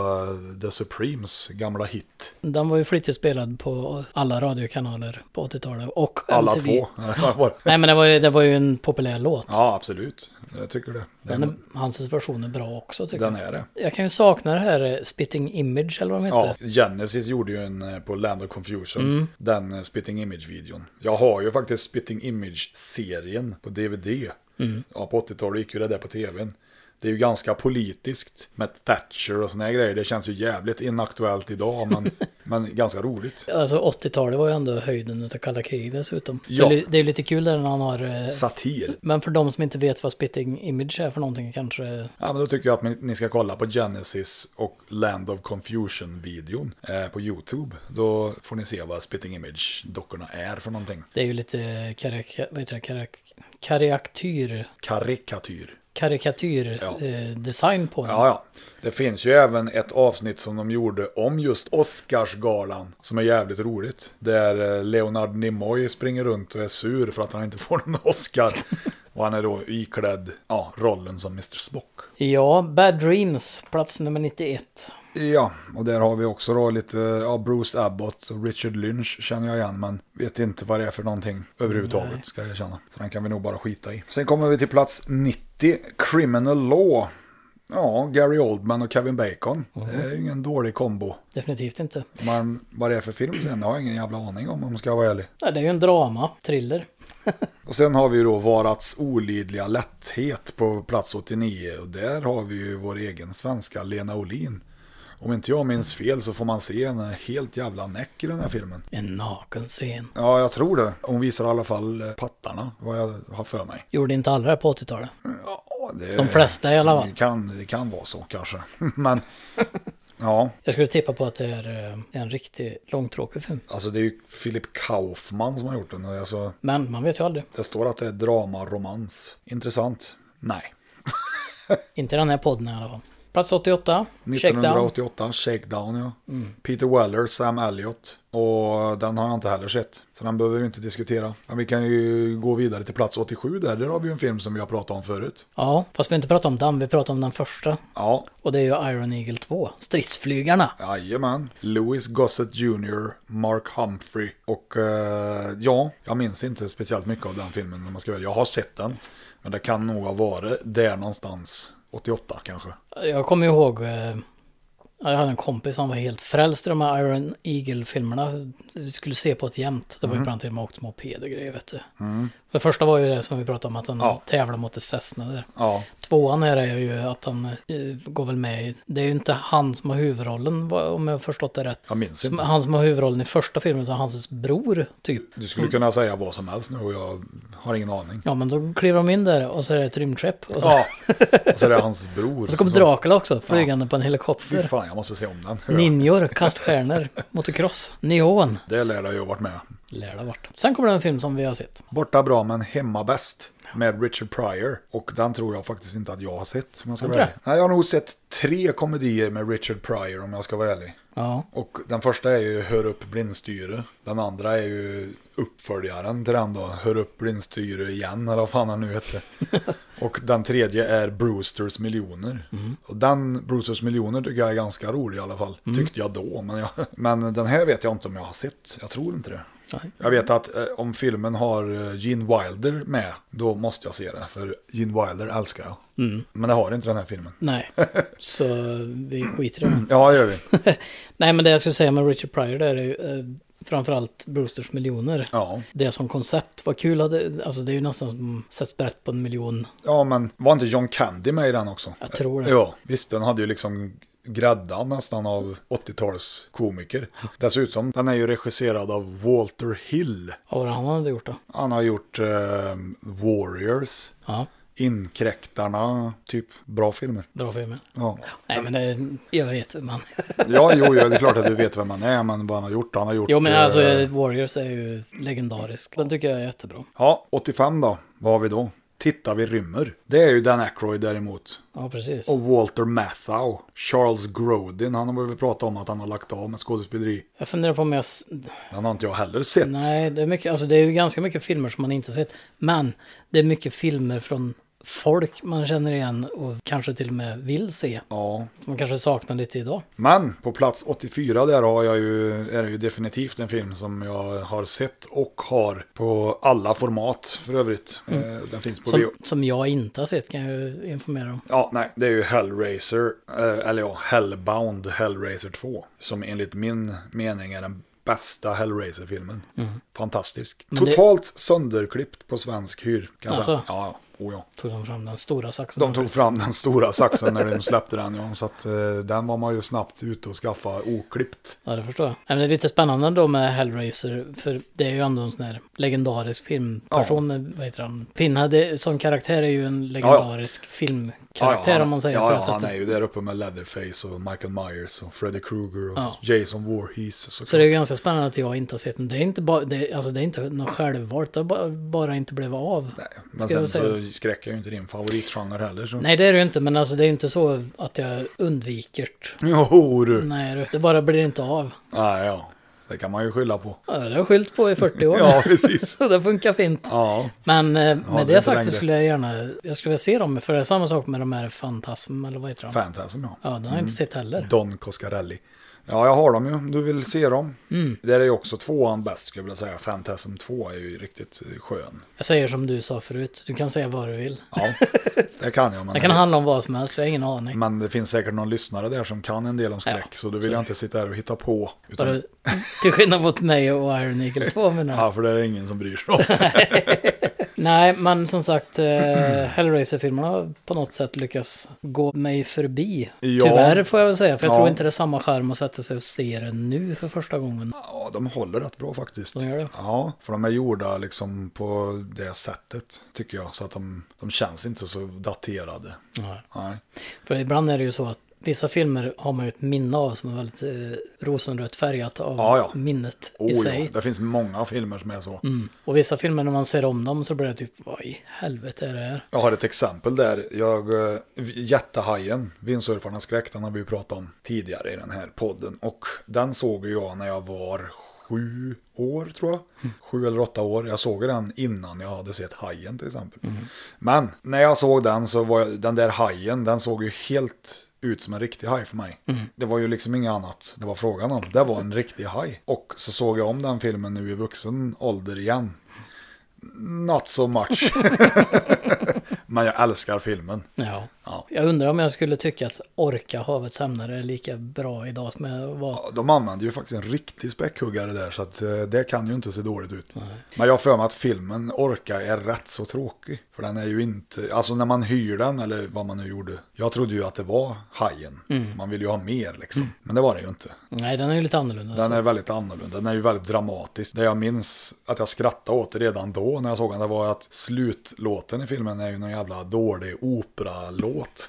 [SPEAKER 1] eh, The Supremes gamla hit.
[SPEAKER 2] Den var ju flitigt spelad på alla radiokanaler på 80-talet och
[SPEAKER 1] Alla
[SPEAKER 2] MTV.
[SPEAKER 1] två. (laughs) ja,
[SPEAKER 2] Nej men det var ju, det var ju en populär låt.
[SPEAKER 1] absolut. Jag tycker det.
[SPEAKER 2] Den
[SPEAKER 1] Den,
[SPEAKER 2] är, hans version är bra också tycker
[SPEAKER 1] den är det.
[SPEAKER 2] jag. Jag kan ju sakna det här eh, Spitting Image eller vad de
[SPEAKER 1] Ja,
[SPEAKER 2] heter.
[SPEAKER 1] Genesis gjorde ju en eh, på Land of Confusion, den eh, Spitting Image-videon. Jag har ju faktiskt Spitting Image-serien på DVD. Ja, på 80-talet gick ju det där på tvn. Det är ju ganska politiskt med Thatcher och såna här grejer. Det känns ju jävligt inaktuellt idag, men, men ganska roligt.
[SPEAKER 2] Alltså 80-talet var ju ändå höjden utav kalla kriget dessutom. Så
[SPEAKER 1] Ja.
[SPEAKER 2] det är- Det är lite kul där när han har... eh,
[SPEAKER 1] Satir.
[SPEAKER 2] Men för de som inte vet vad Spitting Image är för någonting kanske...
[SPEAKER 1] Ja, men då tycker jag att ni ska kolla på Genesis och Land of Confusion-videon eh, på YouTube. Då får ni se vad Spitting Image-dockorna är för någonting.
[SPEAKER 2] Det är ju lite karik... Vad heter det? Karik... Karikatyr...
[SPEAKER 1] Karikatyr.
[SPEAKER 2] Karikatyr
[SPEAKER 1] Ja.
[SPEAKER 2] eh, design på den.
[SPEAKER 1] Ja, ja. Det finns ju även ett avsnitt som de gjorde om just Oscarsgalan som är jävligt roligt. Där eh, Leonard Nimoy springer runt och är sur för att han inte får någon Oscar.
[SPEAKER 2] (laughs)
[SPEAKER 1] Och han är då iklädd ja, rollen som Mr. Spock.
[SPEAKER 2] Ja, Bad Dreams, plats nummer 91.
[SPEAKER 1] Ja, och där har vi också då lite ja, Bruce Abbott och Richard Lynch känner jag igen, men vet inte vad det är för någonting överhuvudtaget ska jag erkänna. Så den kan vi nog bara skita i. Sen kommer vi till plats 90, Criminal Law. Ja, Gary Oldman och Kevin Bacon. Det är ju ingen dålig kombo.
[SPEAKER 2] Definitivt inte.
[SPEAKER 1] Men vad det är för film sen har jag ingen jävla aning om, om jag ska vara ärlig.
[SPEAKER 2] Ja, det är ju en drama, thriller.
[SPEAKER 1] Och sen har vi ju då Varats olidliga lätthet på plats 89 och där har vi ju vår egen svenska Lena Olin. Om inte jag minns fel så får man se en helt jävla näck i den här filmen.
[SPEAKER 2] En naken scen.
[SPEAKER 1] Ja, jag tror det. Hon visar i alla fall eh, pattarna, vad jag har för mig.
[SPEAKER 2] Gjorde inte alla det här på 80-talet.
[SPEAKER 1] Ja, det,
[SPEAKER 2] De flesta i alla fall.
[SPEAKER 1] Det kan, det kan vara så kanske. (laughs) Men, ja.
[SPEAKER 2] Jag skulle tippa på att det är eh, en riktig långtråkig film.
[SPEAKER 1] Alltså det är ju Philip Kaufman som har gjort den. och Alltså,
[SPEAKER 2] Men man vet ju aldrig.
[SPEAKER 1] det står att det är drama, romans. Intressant. Nej.
[SPEAKER 2] Inte i den här podden i alla fall. Plats 88, Shakedown.
[SPEAKER 1] 1988, Shakedown ja. Peter Weller, Sam Elliott. Och den har jag inte heller sett. Så den behöver vi inte diskutera. Men vi kan ju gå vidare till plats 87 där. Där har vi ju en film som vi har pratat om förut.
[SPEAKER 2] Ja, fast vi har inte pratat om den, vi pratar om den första.
[SPEAKER 1] Ja,
[SPEAKER 2] Och det är ju Iron Eagle 2, Stridsflygarna.
[SPEAKER 1] jajamän. Louis Gossett Jr, Mark Humphrey. Och eh, ja, jag minns inte speciellt mycket av den filmen om man ska välja. Jag har sett den. Men det kan nog ha varit där någonstans. 88 kanske.
[SPEAKER 2] Jag kommer ju ihåg, eh, jag hade en kompis som var helt frälst i de här Iron Eagle-filmerna. Vi skulle se på ett jämt. Det var ju bland annat till och med åkt moped och grejer vet du. För det första var ju det som vi pratade om, att han
[SPEAKER 1] Ja.
[SPEAKER 2] tävlar mot ett Cessna där.
[SPEAKER 1] Ja,
[SPEAKER 2] Tvåan här är ju att han eh, går väl med i, det är ju inte han som har huvudrollen vad- om jag har förstått det rätt.
[SPEAKER 1] jag minns
[SPEAKER 2] Som,
[SPEAKER 1] inte.
[SPEAKER 2] han som har huvudrollen i första filmen utan hans bror typ.
[SPEAKER 1] Du skulle kunna säga vad som helst nu och jag har ingen aning.
[SPEAKER 2] Ja men då kliver de in där och så är det ett rymdskepp. Och så,
[SPEAKER 1] Ja, och så är det hans bror.
[SPEAKER 2] och så kommer Dracula också flygande på en
[SPEAKER 1] Fy
[SPEAKER 2] helikopter.
[SPEAKER 1] fan, jag måste se om den.
[SPEAKER 2] Ninjor, kaststjärnor, (laughs) motocross, neon.
[SPEAKER 1] Det lär jag ju ha varit med.
[SPEAKER 2] Lär det ha varit. Sen kommer det en film som vi har sett.
[SPEAKER 1] Borta bra men hemma bäst. Med Richard Pryor. Och den tror jag faktiskt inte att jag har sett. Om jag, ska vara
[SPEAKER 2] Inte
[SPEAKER 1] ärlig. Nej, jag har nog sett tre komedier med Richard Pryor om jag ska vara ärlig.
[SPEAKER 2] Ja.
[SPEAKER 1] Och den första är ju Hör upp blindstyre. Den andra är ju uppföljaren till den då. Hör upp blindstyre igen eller vad fan han nu
[SPEAKER 2] (laughs)
[SPEAKER 1] hette. och den tredje är Brewsters miljoner.
[SPEAKER 2] Mm.
[SPEAKER 1] Och den Brewsters miljoner tycker jag är ganska rolig i alla fall. Tyckte jag då. Men, jag, (laughs) men den här vet jag inte om jag har sett. Jag tror inte det.
[SPEAKER 2] Nej.
[SPEAKER 1] Jag vet att eh, om filmen har eh, Gene Wilder med, då måste jag se det. För Gene Wilder älskar jag.
[SPEAKER 2] Mm.
[SPEAKER 1] Men det har inte den här filmen. (laughs)
[SPEAKER 2] Nej, så vi skiter i den.
[SPEAKER 1] Ja, det gör vi.
[SPEAKER 2] Nej, men det jag skulle säga med Richard Pryor där är ju eh, framförallt Brewsters miljoner.
[SPEAKER 1] Ja.
[SPEAKER 2] Det som koncept var kul, hade- alltså det är ju nästan som sätts brett på en miljon.
[SPEAKER 1] Ja, men var inte John Candy med i den också?
[SPEAKER 2] Jag tror det.
[SPEAKER 1] Ja, visst, den hade ju liksom gräddan nästan av 80-tals komiker. Dessutom, den är ju regisserad av Walter Hill.
[SPEAKER 2] Ja, vad han hade gjort då.
[SPEAKER 1] Han har gjort eh, Warriors,
[SPEAKER 2] Ja,
[SPEAKER 1] Inkräktarna, typ bra filmer.
[SPEAKER 2] bra filmer.
[SPEAKER 1] Ja,
[SPEAKER 2] Nej, men det, jag vet hur man...
[SPEAKER 1] ja jo, jo, det är klart att du vet vem han är, men vad han har gjort, han har gjort...
[SPEAKER 2] Jo, men
[SPEAKER 1] eh,
[SPEAKER 2] alltså Warriors är ju legendarisk. Den tycker jag är jättebra.
[SPEAKER 1] Ja, 85 då, vad har vi då? Titta, vi rymmer. Det är ju Dan Aykroyd däremot.
[SPEAKER 2] Ja, precis.
[SPEAKER 1] Och Walter Matthau, Charles Grodin, han har väl pratat om att han har lagt av med skådespeleri.
[SPEAKER 2] Jag funderar på om jag... s-
[SPEAKER 1] Den har inte jag heller sett.
[SPEAKER 2] Nej, det är, mycket, alltså det är ju ganska mycket filmer som man inte sett. Men det är mycket filmer från folk man känner igen och kanske till och med vill se.
[SPEAKER 1] Ja.
[SPEAKER 2] Som man kanske saknar lite idag.
[SPEAKER 1] Men på plats 84 där har jag ju, är det ju definitivt en film som jag har sett och har på alla format för övrigt. Eh, Den finns på bio.
[SPEAKER 2] Mm. Som, som jag inte har sett kan jag ju informera om.
[SPEAKER 1] Ja, nej, det är ju Hellraiser, eh, eller ja, Hellbound Hellraiser 2. Som enligt min mening är den bästa Hellraiser-filmen. Fantastisk.
[SPEAKER 2] Mm. det-
[SPEAKER 1] Totalt sönderklippt på svensk hyr. Kan jag säga.
[SPEAKER 2] Alltså.
[SPEAKER 1] Ja, ja. Oh, ja.
[SPEAKER 2] Tog de fram den stora saxen?
[SPEAKER 1] De tog fram den stora saxen när de släppte den. Ja, så att, eh, den var man ju snabbt ute och skaffa oklippt.
[SPEAKER 2] Ja, det förstår jag. Men det är lite spännande då med Hellraiser, för det är ju ändå en sån här legendarisk filmperson, vad heter han? Pinhead är- som karaktär är ju en legendarisk filmkaraktär
[SPEAKER 1] han-
[SPEAKER 2] om man säger
[SPEAKER 1] ja,
[SPEAKER 2] på det
[SPEAKER 1] ja, han
[SPEAKER 2] sättet.
[SPEAKER 1] är ju där uppe med Leatherface och Michael Myers och Freddy Krueger och
[SPEAKER 2] Ja.
[SPEAKER 1] Jason Voorhees. Så
[SPEAKER 2] Så det är ju ganska spännande att jag inte har sett den. Det är inte bara, det, är- alltså det är inte något självvalt, det har bara, bara inte blivit av. Nej.
[SPEAKER 1] Men
[SPEAKER 2] ska
[SPEAKER 1] sen
[SPEAKER 2] jag
[SPEAKER 1] så skräcker ju inte din favoritgenre heller. Så.
[SPEAKER 2] det är det ju inte, men alltså det är ju inte så att jag undviker det.
[SPEAKER 1] (laughs) Jo, du.
[SPEAKER 2] Nej, du, det bara blir inte av.
[SPEAKER 1] Nej, ja. Det kan man ju skylla på.
[SPEAKER 2] Ja, det har jag skyllt på i 40 år.
[SPEAKER 1] Ja, precis.
[SPEAKER 2] (laughs) Så det funkar fint.
[SPEAKER 1] Ja,
[SPEAKER 2] Men eh,
[SPEAKER 1] det
[SPEAKER 2] med
[SPEAKER 1] är
[SPEAKER 2] det,
[SPEAKER 1] inte
[SPEAKER 2] sagt så
[SPEAKER 1] längre.
[SPEAKER 2] skulle jag gärna, jag skulle vilja se dem, för det är samma sak med de här Fantasm eller vad heter de?
[SPEAKER 1] Fantasm ja.
[SPEAKER 2] Ja, den har jag inte sett heller.
[SPEAKER 1] Don Coscarelli. Ja, jag har dem ju. Du vill se dem.
[SPEAKER 2] Mm.
[SPEAKER 1] Där är ju också tvåan bäst skulle jag vilja säga. Fantasm 2 är ju riktigt eh, skön.
[SPEAKER 2] Jag säger som du sa förut, du kan säga vad du vill. (laughs)
[SPEAKER 1] Ja, det kan jag. Men,
[SPEAKER 2] Det kan handla om vad som helst, jag har ingen aning.
[SPEAKER 1] men det finns säkert någon lyssnare där som kan en del om skräck.
[SPEAKER 2] Ja,
[SPEAKER 1] så då vill jag inte sitta här och hitta på. Utan,
[SPEAKER 2] Bara, (laughs) till skillnad mot mig och Iron Eagle 2 menar jag.
[SPEAKER 1] Ja, för det är ingen som bryr sig om.
[SPEAKER 2] Nej, men som sagt, eh,
[SPEAKER 1] (clears throat)
[SPEAKER 2] Hellraiser-filmerna har på något sätt lyckats gå mig förbi.
[SPEAKER 1] Ja.
[SPEAKER 2] Tyvärr får jag väl säga, för jag
[SPEAKER 1] Ja.
[SPEAKER 2] tror inte det är samma skärm att sätta sig och se den nu för första gången.
[SPEAKER 1] Ja, de håller rätt bra faktiskt.
[SPEAKER 2] De gör det.
[SPEAKER 1] Ja, för de är gjorda liksom på det sättet, tycker jag. Så att de, de känns inte så daterade.
[SPEAKER 2] Nej.
[SPEAKER 1] Nej.
[SPEAKER 2] För ibland är det ju så att vissa filmer har man ju ett minne av som är väldigt eh, rosenrött färgat av
[SPEAKER 1] Ja, ja.
[SPEAKER 2] minnet i
[SPEAKER 1] Oh,
[SPEAKER 2] sig.
[SPEAKER 1] ja. Det finns många filmer som är så.
[SPEAKER 2] Och vissa filmer när man ser om dem så blir det typ, vad i helvete är det här?
[SPEAKER 1] Jag har ett exempel där. Jag, eh, jättehajen, Vindsurfarnas skräck, den har vi ju pratat om tidigare i den här podden. Och den såg ju jag när jag var sju år tror jag. Sju eller åtta år. Jag såg den innan jag hade sett hajen till exempel. Men när jag såg den så var jag, den där hajen, den såg ju helt ut som en riktig haj för mig. Det var ju liksom inget annat det var frågan om. Det var en riktig haj. Och så såg jag om den filmen nu i vuxen ålder igen. Not so much. Men jag älskar filmen.
[SPEAKER 2] Ja.
[SPEAKER 1] Ja.
[SPEAKER 2] Jag undrar om jag skulle tycka att Orka havets hämnare är lika bra idag som jag var.
[SPEAKER 1] De använder ju faktiskt en riktig späckhuggare där så att eh, det kan ju inte se dåligt ut. Men jag har för mig att filmen Orka är rätt så tråkig. För den är ju inte, alltså när man hyr den eller vad man nu gjorde. Jag trodde ju att det var Hajen. Man vill ju ha mer liksom. Men det var det ju inte.
[SPEAKER 2] Nej, den är ju lite annorlunda.
[SPEAKER 1] Den
[SPEAKER 2] så.
[SPEAKER 1] är väldigt annorlunda, den är ju väldigt dramatisk. Det jag minns att jag skrattade åt redan då när jag såg den, det var att slutlåten i filmen är ju någon jävla dålig operalåt.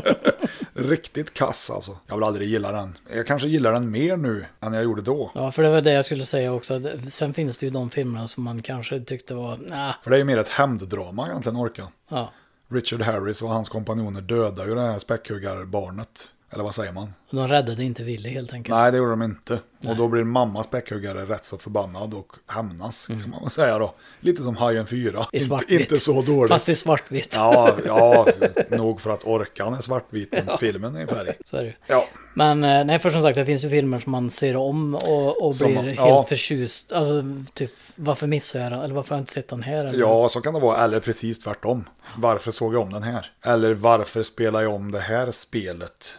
[SPEAKER 1] (laughs) Riktigt kass alltså. Jag vill aldrig gilla den. Jag kanske gillar den mer nu än jag gjorde då.
[SPEAKER 2] Ja, för det var det jag skulle säga också. att Sen finns det ju de filmerna som man kanske tyckte var, nah,
[SPEAKER 1] För det är ju mer ett hämnddrama egentligen, Orka.
[SPEAKER 2] ja.
[SPEAKER 1] Richard Harris och hans kompanjoner dödar ju det här späckhuggarbarnet. Eller vad säger man?
[SPEAKER 2] Och de räddade inte Willy helt enkelt.
[SPEAKER 1] Nej, det gjorde de inte. Och då blir mammas späckhuggare rätt så förbannad och hämnas, kan man väl säga då. Lite som Hajen 4.
[SPEAKER 2] I
[SPEAKER 1] Inte,
[SPEAKER 2] Mm. svartvitt.
[SPEAKER 1] inte så dåligt.
[SPEAKER 2] Fast i svartvitt.
[SPEAKER 1] Ja, ja, nog för att orkan är svartvit, men filmen är i färg.
[SPEAKER 2] Så är det ju.
[SPEAKER 1] Ja,
[SPEAKER 2] Men eh, nej, för som sagt, det finns ju filmer som man ser om och, och
[SPEAKER 1] Som
[SPEAKER 2] blir
[SPEAKER 1] man-
[SPEAKER 2] helt
[SPEAKER 1] ja.
[SPEAKER 2] förtjust. Alltså, typ, varför missar jag den? Eller varför har jag inte sett den här? Eller?
[SPEAKER 1] ja, så kan det vara. Eller precis tvärtom. Varför såg jag om den här? Eller varför spelar jag om det här spelet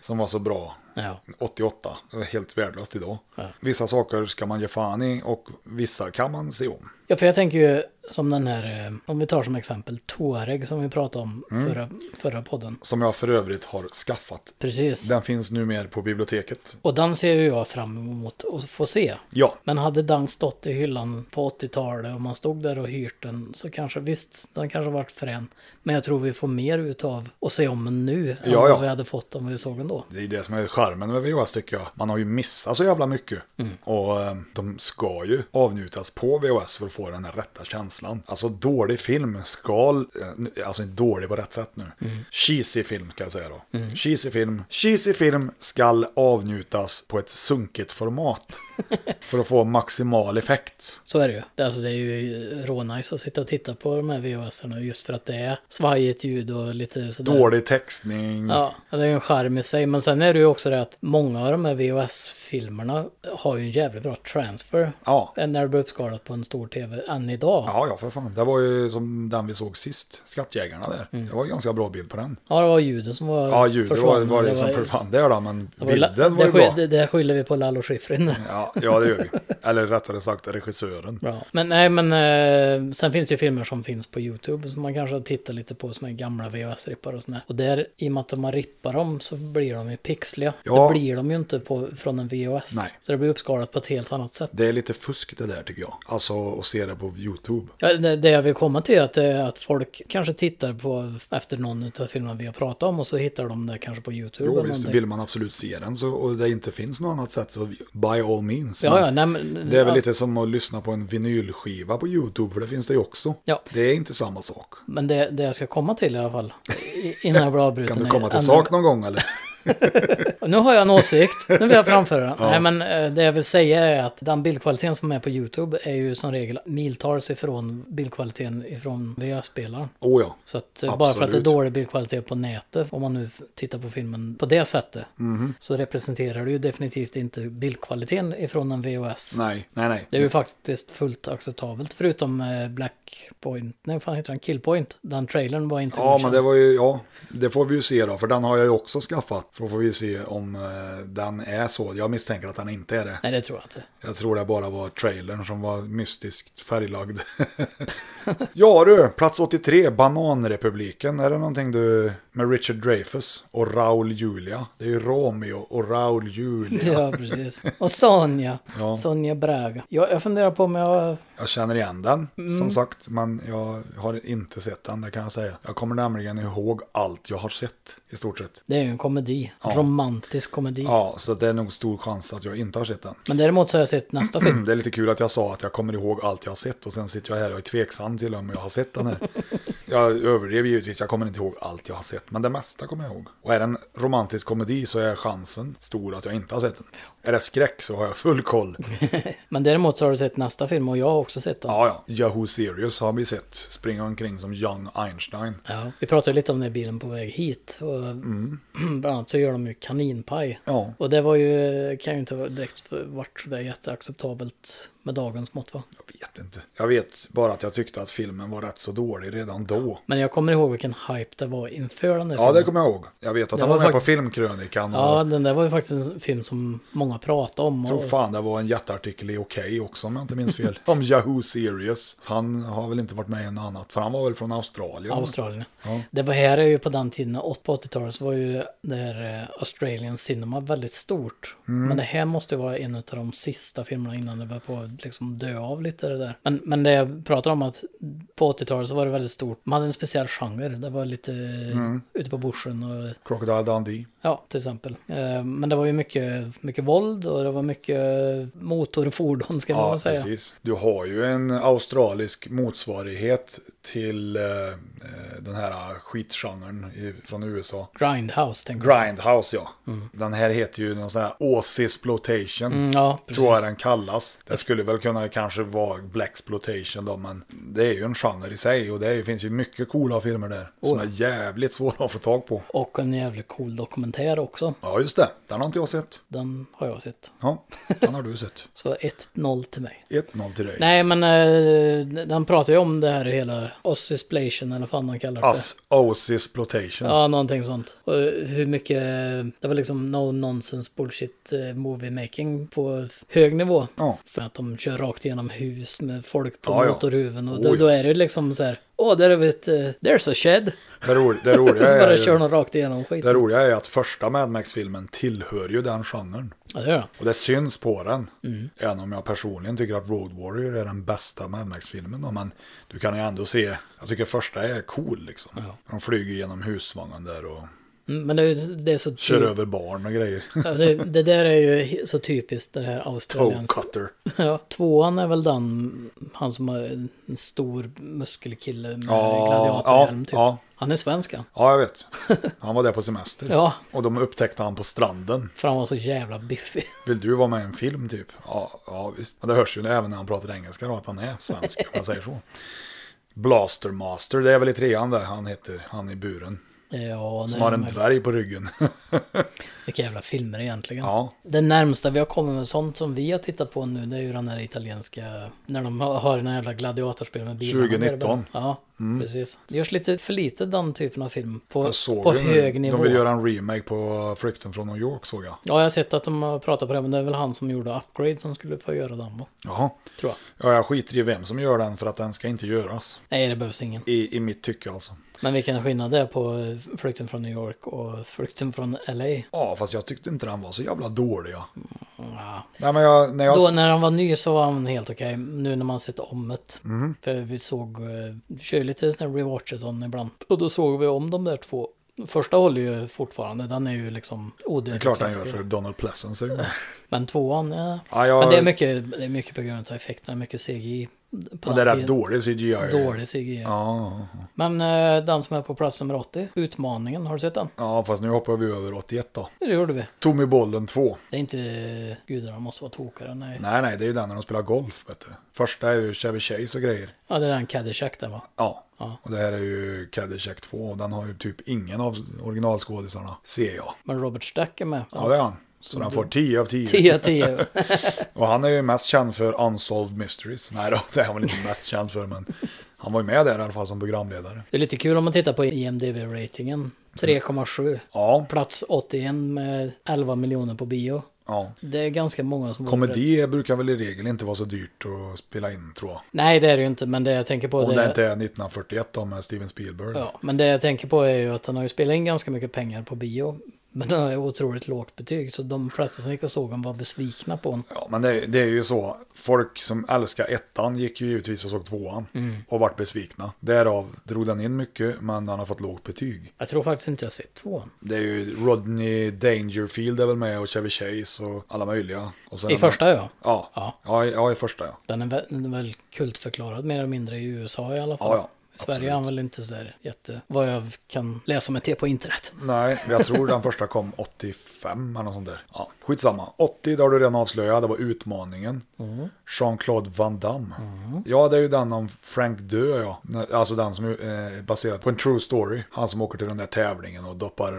[SPEAKER 1] som var så bra?
[SPEAKER 2] Ja.
[SPEAKER 1] 88, Det är helt värdelöst idag. Vissa saker ska man ge fan i och vissa kan man se om.
[SPEAKER 2] ja, för jag tänker ju som den här, eh, om vi tar som exempel Touareg som vi pratade om
[SPEAKER 1] Mm.
[SPEAKER 2] förra, förra podden.
[SPEAKER 1] Som jag för övrigt har skaffat.
[SPEAKER 2] Precis.
[SPEAKER 1] Den finns numera på biblioteket.
[SPEAKER 2] Och den ser ju jag fram emot att få se.
[SPEAKER 1] Ja,
[SPEAKER 2] Men hade den stått i hyllan på 80-talet och man stod där och hyrt den så kanske visst, den kanske varit frän. Men jag tror vi får mer utav att se om den nu än
[SPEAKER 1] Ja, ja.
[SPEAKER 2] vad vi hade fått om vi såg den då.
[SPEAKER 1] Det är det som är charmen med VHS tycker jag. Man har ju missat så jävla mycket.
[SPEAKER 2] Mm.
[SPEAKER 1] Och eh, de ska ju avnjutas på VHS för att få den här rätta känslan. Alltså dålig film skal, eh, nu- alltså inte dålig på rätt sätt nu.
[SPEAKER 2] Mm.
[SPEAKER 1] Cheesy film kan jag säga då. Cheesy film, cheesy film skall avnjutas på ett sunkigt
[SPEAKER 2] (laughs)
[SPEAKER 1] format. för att få maximal effekt.
[SPEAKER 2] Så är det ju. Det- Alltså det är ju rånice att sitta och titta på de här VHSerna just för att det är svajigt ljud och lite sådär.
[SPEAKER 1] Dålig textning.
[SPEAKER 2] Ja, det är ju en charm i sig. Men sen är det ju också det att många av de här VHS-filmerna har ju en jävligt bra transfer.
[SPEAKER 1] Ja.
[SPEAKER 2] Än När det blir uppskalat på en stor tv än idag. Ja,
[SPEAKER 1] Ja, ja, för fan. Det var ju som den vi såg sist, Skattjägarna där. Det var ju ganska bra bild på den.
[SPEAKER 2] det var ljuden som var
[SPEAKER 1] Ja, ljudet var,
[SPEAKER 2] Mm. försvann,
[SPEAKER 1] var
[SPEAKER 2] men
[SPEAKER 1] det som försvann där då, men
[SPEAKER 2] Det, var, la-
[SPEAKER 1] bilden var
[SPEAKER 2] det,
[SPEAKER 1] ju bra.
[SPEAKER 2] skyll, det, det skyller vi på Lalo Schifrin.
[SPEAKER 1] Ja, ja, det gör vi. Eller rättare sagt regissören.
[SPEAKER 2] Bra. Men nej, men eh, sen finns det ju filmer som finns på YouTube som man kanske tittar lite på som är gamla VHS-rippar och sådär. Och där, i och med att man rippar dem så blir de ju pixliga.
[SPEAKER 1] Ja.
[SPEAKER 2] Det blir de ju inte på, från en VHS.
[SPEAKER 1] Nej.
[SPEAKER 2] Så det blir uppskalat på ett helt annat sätt.
[SPEAKER 1] Det är lite fusk det där tycker jag. Alltså att se det på YouTube.
[SPEAKER 2] Ja, det, det jag vill komma till är att, det är att folk kanske tittar på efter någon av filmerna vi har pratat om och så hittar de det kanske på YouTube.
[SPEAKER 1] Jo,
[SPEAKER 2] eller
[SPEAKER 1] visst,
[SPEAKER 2] någonting.
[SPEAKER 1] vill man absolut se den så, och det inte finns något annat sätt så by all means.
[SPEAKER 2] Ja,
[SPEAKER 1] Men
[SPEAKER 2] ja, nej, men,
[SPEAKER 1] Det är väl
[SPEAKER 2] ja.
[SPEAKER 1] lite som att lyssna på en vinylskiva på YouTube, för det finns det ju också.
[SPEAKER 2] Ja.
[SPEAKER 1] Det är inte samma sak.
[SPEAKER 2] Men det, det jag ska komma till i alla fall, i- innan jag blir
[SPEAKER 1] (laughs)
[SPEAKER 2] avbruten.
[SPEAKER 1] Kan du
[SPEAKER 2] är
[SPEAKER 1] komma till
[SPEAKER 2] ändå-
[SPEAKER 1] sak någon gång eller?
[SPEAKER 2] Nu har jag en åsikt, nu
[SPEAKER 1] (laughs)
[SPEAKER 2] vill jag framföra den. Nej men eh, det jag vill säga är att den bildkvaliteten som är på YouTube är ju som regel miltals ifrån bildkvaliteten ifrån VHS-spelaren.
[SPEAKER 1] Åh ja.
[SPEAKER 2] Så att eh, bara för att det är
[SPEAKER 1] Absolut.
[SPEAKER 2] dålig bildkvalitet på nätet, om man nu f- tittar på filmen på det sättet,
[SPEAKER 1] Mhm.
[SPEAKER 2] så representerar det ju definitivt inte bildkvaliteten ifrån en VHS.
[SPEAKER 1] Nej, nej, nej.
[SPEAKER 2] Det är ju faktiskt fullt acceptabelt, förutom eh, Black Point, nej vad fan heter den, Killpoint. Den trailern var inte
[SPEAKER 1] Ja, men
[SPEAKER 2] godkänd.
[SPEAKER 1] det var ju, ja, det får vi ju se då, för den har jag ju också skaffat. Så får vi se om eh, den är så. Jag misstänker att den inte är det.
[SPEAKER 2] Nej, det tror jag inte.
[SPEAKER 1] Jag tror det bara var trailern som var mystiskt färglagd. (laughs) ja du, plats 83, Bananrepubliken. Är det någonting du... Med Richard Dreyfus och Raul Julia. Det är ju Romeo och Raul Julia.
[SPEAKER 2] Ja, precis. Och Sonja.
[SPEAKER 1] Ja.
[SPEAKER 2] Sonja Braga. Jag, jag funderar på om jag...
[SPEAKER 1] Jag känner igen den, som sagt. Men jag har inte sett den, det kan jag säga. Jag kommer nämligen ihåg allt jag har sett, i stort sett.
[SPEAKER 2] Det är ju en komedi. Romantisk komedi.
[SPEAKER 1] Ja, så det är nog stor chans att jag inte har sett den.
[SPEAKER 2] Men däremot så har jag sett nästa film.
[SPEAKER 1] Det är lite kul att jag sa att jag kommer ihåg allt jag har sett och sen sitter jag här och är tveksam till om jag har sett den här. Jag överdrev givetvis, jag kommer inte ihåg allt jag har sett, men det mesta kommer jag ihåg. Och är det en romantisk komedi så är chansen stor att jag inte har sett den. Är det skräck så har jag full koll.
[SPEAKER 2] Men däremot så har du sett nästa film och jag har också sett den.
[SPEAKER 1] Ja, ja. Yahoo Serious har vi sett springa omkring som Young Einstein.
[SPEAKER 2] Ja. Vi pratade lite om den i bilen på väg hit. Och
[SPEAKER 1] Mm.
[SPEAKER 2] (clears throat) Bland annat så gör de ju kaninpaj.
[SPEAKER 1] Ja,
[SPEAKER 2] Och det var ju, kan ju inte vara direkt för, varit sådär jätteacceptabelt med dagens mått va?
[SPEAKER 1] jag vet inte. Jag vet bara att jag tyckte att filmen var rätt så dålig redan då.
[SPEAKER 2] Men jag kommer ihåg vilken hype det var inför den där
[SPEAKER 1] Ja, det kommer jag ihåg. Jag vet att
[SPEAKER 2] Det
[SPEAKER 1] den var
[SPEAKER 2] var
[SPEAKER 1] med på
[SPEAKER 2] faktiskt-
[SPEAKER 1] Filmkrönikan. och-
[SPEAKER 2] Ja, den där var ju faktiskt en film som många pratade om.
[SPEAKER 1] Jag
[SPEAKER 2] och-
[SPEAKER 1] tror fan det var en jätteartikel i Okej också om jag inte minns fel. om Yahoo Serious. Han har väl inte varit med i något annat, för han var väl från Australien.
[SPEAKER 2] Australien.
[SPEAKER 1] Ja.
[SPEAKER 2] Det var här är ju på den tiden, åt- på 80-talet, så var ju där eh, Australian Cinema väldigt stort.
[SPEAKER 1] Mm.
[SPEAKER 2] Men det här måste ju vara en av de sista filmerna innan det började på att liksom dö av lite det där. Men, men det jag pratar om att på 80-talet så var det väldigt stort. Man- De hade en speciell genre. Det var lite
[SPEAKER 1] Mm.
[SPEAKER 2] ute på bushen och
[SPEAKER 1] Crocodile Dundee.
[SPEAKER 2] ja, till exempel. Eh, Men det var ju mycket, mycket våld och det var mycket motorfordon ska man väl säga.
[SPEAKER 1] precis. Du har ju en australisk motsvarighet till eh, eh, den här skitgenren i, från USA.
[SPEAKER 2] Grindhouse tänker jag.
[SPEAKER 1] Grindhouse ja. Den här heter ju någon sån här Aussie-sploitation.
[SPEAKER 2] Mm, ja,
[SPEAKER 1] Tror jag
[SPEAKER 2] precis.
[SPEAKER 1] den kallas. Det skulle väl kunna kanske vara Blaxploitation då, men det är ju en genre i sig och det är, finns ju mycket coola filmer där. Som
[SPEAKER 2] Oh.
[SPEAKER 1] är jävligt svåra att få tag på.
[SPEAKER 2] Och en jävligt cool dokumentär också.
[SPEAKER 1] Ja, just det. Den har inte jag sett.
[SPEAKER 2] Den har jag sett.
[SPEAKER 1] Ja, den har du
[SPEAKER 2] (laughs)
[SPEAKER 1] sett.
[SPEAKER 2] Så 1-0 till mig.
[SPEAKER 1] 1-0 till dig.
[SPEAKER 2] Nej men eh, den pratar ju om det här hela Ossisploitation eller vad fan man kallar det.
[SPEAKER 1] Ass Aussie-sploitation.
[SPEAKER 2] Ja, någonting sånt. Och hur mycket, det var liksom no nonsense bullshit eh, movie making på hög nivå.
[SPEAKER 1] Ja.
[SPEAKER 2] För att de kör rakt igenom hus med folk på
[SPEAKER 1] Ja, ja.
[SPEAKER 2] motorhuven. Och
[SPEAKER 1] Oj.
[SPEAKER 2] då, då är det liksom så här, åh där är vi ett, eh, there's a shed.
[SPEAKER 1] Det, ro det, roliga
[SPEAKER 2] (laughs) Så bara
[SPEAKER 1] är
[SPEAKER 2] kör
[SPEAKER 1] ju,
[SPEAKER 2] de rakt igenom skit.
[SPEAKER 1] det roliga är att första Mad Max-filmen tillhör ju den genren.
[SPEAKER 2] Ja, det gör de.
[SPEAKER 1] Och det syns på den.
[SPEAKER 2] Mm.
[SPEAKER 1] Även om jag personligen tycker att Road Warrior är den bästa Mad Max-filmen. då, Men du kan ju ändå se, jag tycker första är cool liksom. De flyger genom husvagnen där och
[SPEAKER 2] Mm, Men det, är ju- det är så...
[SPEAKER 1] kör
[SPEAKER 2] typ-
[SPEAKER 1] över barn och grejer.
[SPEAKER 2] Ja, det, det där är ju he- så typiskt det här
[SPEAKER 1] (laughs) Oh,
[SPEAKER 2] australiensiska.
[SPEAKER 1] Toe-cutter.
[SPEAKER 2] Ja, tvåan är väl den, han som har en stor muskelkille med
[SPEAKER 1] Ja, ja,
[SPEAKER 2] gladiatorhjälm eh, typ.
[SPEAKER 1] ja.
[SPEAKER 2] Han är svensk han.
[SPEAKER 1] Ja, jag
[SPEAKER 2] (laughs)
[SPEAKER 1] vet. Han var där på semester.
[SPEAKER 2] Ja,
[SPEAKER 1] Och de upptäckte han på stranden.
[SPEAKER 2] för han var så jävla biffig. (laughs)
[SPEAKER 1] Vill du vara med i en film typ? Ja, ja visst. Men det hörs ju även när han pratar engelska då, att han är svensk. om man säger
[SPEAKER 2] (laughs)
[SPEAKER 1] så. Blaster Master, det är väl i trean där han heter, han i buren.
[SPEAKER 2] Eh, Ja,
[SPEAKER 1] Som
[SPEAKER 2] nej,
[SPEAKER 1] har en
[SPEAKER 2] men
[SPEAKER 1] dvärg på ryggen.
[SPEAKER 2] vilka jävla filmer egentligen.
[SPEAKER 1] ja,
[SPEAKER 2] Det närmsta vi har kommit med sånt som vi har tittat på nu, det är ju den här italienska, när de har har den här jävla gladiatorspelen med bilarna.
[SPEAKER 1] 2019.
[SPEAKER 2] Ja,
[SPEAKER 1] Mm.
[SPEAKER 2] precis. Det görs lite för lite den typen av film
[SPEAKER 1] (laughs)
[SPEAKER 2] på,
[SPEAKER 1] jag såg
[SPEAKER 2] på
[SPEAKER 1] ju nu.
[SPEAKER 2] hög nivå.
[SPEAKER 1] De vill göra en remake på Flykten från New York såg jag.
[SPEAKER 2] Ja, jag har sett att de har pratat på det, men det är väl han som gjorde Upgrade som skulle få göra den va?
[SPEAKER 1] Jaha.
[SPEAKER 2] Tror jag.
[SPEAKER 1] Ja, jag skiter i vem som gör den för att den ska inte göras.
[SPEAKER 2] Nej, det behövs ingen.
[SPEAKER 1] I, i mitt tycke alltså.
[SPEAKER 2] Men vilken skillnad det är på eh, Flykten från New York och Flykten från LA.
[SPEAKER 1] Ja, fast jag tyckte inte den var så jävla dålig. Ja.
[SPEAKER 2] Ja.
[SPEAKER 1] Nej, men jag, när jag...
[SPEAKER 2] Då när han var ny så var han helt okej. Nu när man sett om det. För vi såg, eh, vi kör ju lite sån här rewatchathon ibland. Och då såg vi om de där två. Första håller ju fortfarande, den är ju liksom
[SPEAKER 1] Det är
[SPEAKER 2] odödlig.
[SPEAKER 1] klart han gör
[SPEAKER 2] klassiker.
[SPEAKER 1] för Donald Pleasence. är ju med.
[SPEAKER 2] Men tvåan, ja.
[SPEAKER 1] Ja, jag,
[SPEAKER 2] Men det är, mycket, det är mycket på grund av effekterna, mycket CGI. På
[SPEAKER 1] och det är
[SPEAKER 2] den
[SPEAKER 1] rätt
[SPEAKER 2] tiden.
[SPEAKER 1] dålig CGI.
[SPEAKER 2] Dålig CGI.
[SPEAKER 1] Ja, ja, ja.
[SPEAKER 2] Men eh, den som är på plats nummer 80, Utmaningen, har du sett den?
[SPEAKER 1] ja, fast nu hoppar vi över 81 då.
[SPEAKER 2] Det gjorde vi.
[SPEAKER 1] Tommy Bollen 2.
[SPEAKER 2] Det är inte, gudarna måste vara tokare, nej.
[SPEAKER 1] Nej, nej, det är ju den när de spelar golf. Vet du. Första är ju Chevy Chase och grejer.
[SPEAKER 2] Ja, det är den Caddyshack där va?
[SPEAKER 1] Ja.
[SPEAKER 2] Ja.
[SPEAKER 1] Och det här är ju Caddyshack 2 och den har ju typ ingen av originalskådisarna, ser jag.
[SPEAKER 2] Men Robert Stack är med.
[SPEAKER 1] Ja, det är han. Så den får 10 av
[SPEAKER 2] (laughs)
[SPEAKER 1] 10.
[SPEAKER 2] 10 10.
[SPEAKER 1] Och han är ju mest känd för Unsolved Mysteries. Nej då, (laughs) det är han väl inte mest känd för, men han var ju med där i alla fall som programledare.
[SPEAKER 2] Det är lite kul om man tittar på IMDB-ratingen. 3,7.
[SPEAKER 1] Ja,
[SPEAKER 2] Plats 81 med 11 miljoner på bio.
[SPEAKER 1] ja.
[SPEAKER 2] Det är ganska många som...
[SPEAKER 1] Komedi brukar väl i regel inte vara så dyrt att spela in, tror jag.
[SPEAKER 2] Nej, det är det ju inte, men det jag tänker på...
[SPEAKER 1] Om det inte är 1941 då med Steven Spielberg.
[SPEAKER 2] Ja, men det jag tänker på är ju att den har ju spelat in ganska mycket pengar på bio. Men den har ju otroligt lågt betyg, så de flesta som gick och såg den var besvikna på den.
[SPEAKER 1] Ja, men det, det är ju så. Folk som älskar ettan gick ju givetvis och såg tvåan och vart besvikna. Därav drog den in mycket, men den har fått lågt betyg.
[SPEAKER 2] Jag tror faktiskt inte jag sett tvåan.
[SPEAKER 1] Det är ju Rodney Dangerfield är väl med och Chevy Chase och alla möjliga. Och sen
[SPEAKER 2] I
[SPEAKER 1] är man-
[SPEAKER 2] första ja.
[SPEAKER 1] Ja.
[SPEAKER 2] Ja.
[SPEAKER 1] Ja. Ja, i- ja, i första ja.
[SPEAKER 2] Den är väl, den är väl kultförklarad mer eller mindre i USA i alla fall.
[SPEAKER 1] Ja, ja.
[SPEAKER 2] I Sverige
[SPEAKER 1] Absolut.
[SPEAKER 2] är han väl inte så där jätte... Vad jag kan läsa mig till på internet.
[SPEAKER 1] Nej, jag tror den första kom 85 eller något sånt där. Ja, skitsamma. 80, det har du redan avslöjat, det var utmaningen.
[SPEAKER 2] Mm.
[SPEAKER 1] Jean-Claude Van Damme. Ja, det är ju den om Frank Dö, ja. Alltså den som är baserad på en true story. Han som åker till den där tävlingen och doppar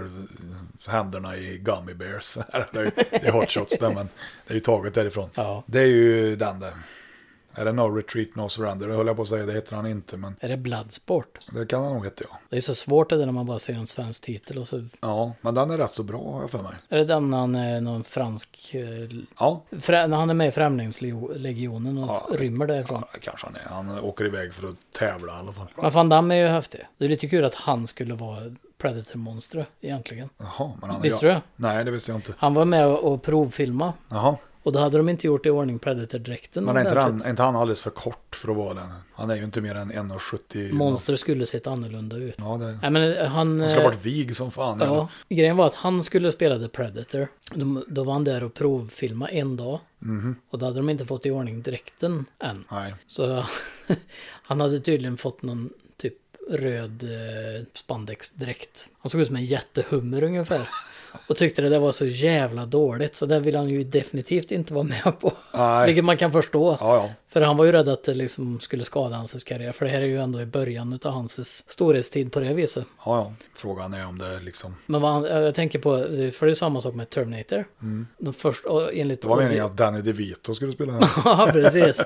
[SPEAKER 1] eh, händerna i gummy bears. (laughs) det är ju det är hot shots där, men det är ju taget därifrån.
[SPEAKER 2] Ja.
[SPEAKER 1] Det är ju den där. Är det No Retreat No Surrender? Det höll jag på att säga, det heter han inte, men
[SPEAKER 2] Är det Bloodsport?
[SPEAKER 1] det kan han nog heta, ja.
[SPEAKER 2] Det är så svårt det där när man bara ser en svensk titel och så...
[SPEAKER 1] Ja, men den är rätt så bra, har jag för mig.
[SPEAKER 2] Är det den när han är någon fransk... eh,
[SPEAKER 1] Ja,
[SPEAKER 2] Frä, när han är med i Främlingslegionen och
[SPEAKER 1] Ja.
[SPEAKER 2] rymmer därifrån.
[SPEAKER 1] Ja, kanske han är. Han åker iväg för att tävla i alla fall.
[SPEAKER 2] Men Van Damme är ju häftig. Det är lite kul att han skulle vara Predator-monstret egentligen.
[SPEAKER 1] Jaha, men han,
[SPEAKER 2] Visste
[SPEAKER 1] ja.
[SPEAKER 2] du det?
[SPEAKER 1] Nej, det visste jag inte.
[SPEAKER 2] Han var med och provfilma
[SPEAKER 1] Jaha,
[SPEAKER 2] Och då hade de inte gjort i ordning Predator-dräkten.
[SPEAKER 1] Men är inte,
[SPEAKER 2] ordentligt.
[SPEAKER 1] han, är inte han alldeles för kort för att vara den? Han är ju inte mer än 1,70.
[SPEAKER 2] Monster skulle sett annorlunda ut.
[SPEAKER 1] Ja, det...
[SPEAKER 2] Nej men eh, han...
[SPEAKER 1] Han skulle ha
[SPEAKER 2] eh,
[SPEAKER 1] varit vig som fan.
[SPEAKER 2] Ja, grejen var att han skulle spela The Predator. De, då var han där och provfilma en dag. Och då hade de inte fått i ordning dräkten än.
[SPEAKER 1] Nej.
[SPEAKER 2] Så (laughs) han hade tydligen fått någon typ röd eh, spandexdräkt. Han såg ut som en jättehummer ungefär. Och tyckte det där var så jävla dåligt. Så det vill han ju definitivt inte vara med på.
[SPEAKER 1] Nej.
[SPEAKER 2] Vilket man kan förstå.
[SPEAKER 1] Ja, ja.
[SPEAKER 2] För han var ju rädd att det liksom skulle skada hans karriär. För det här är ju ändå i början av hans storhetstid på det viset.
[SPEAKER 1] Ja, ja. Frågan är om det liksom...
[SPEAKER 2] Men vad han, jag tänker på, för det är samma sak med Terminator. De först, och enligt...
[SPEAKER 1] Mm. Det var meningen att Danny DeVito skulle spela den.
[SPEAKER 2] (laughs) Ja, precis.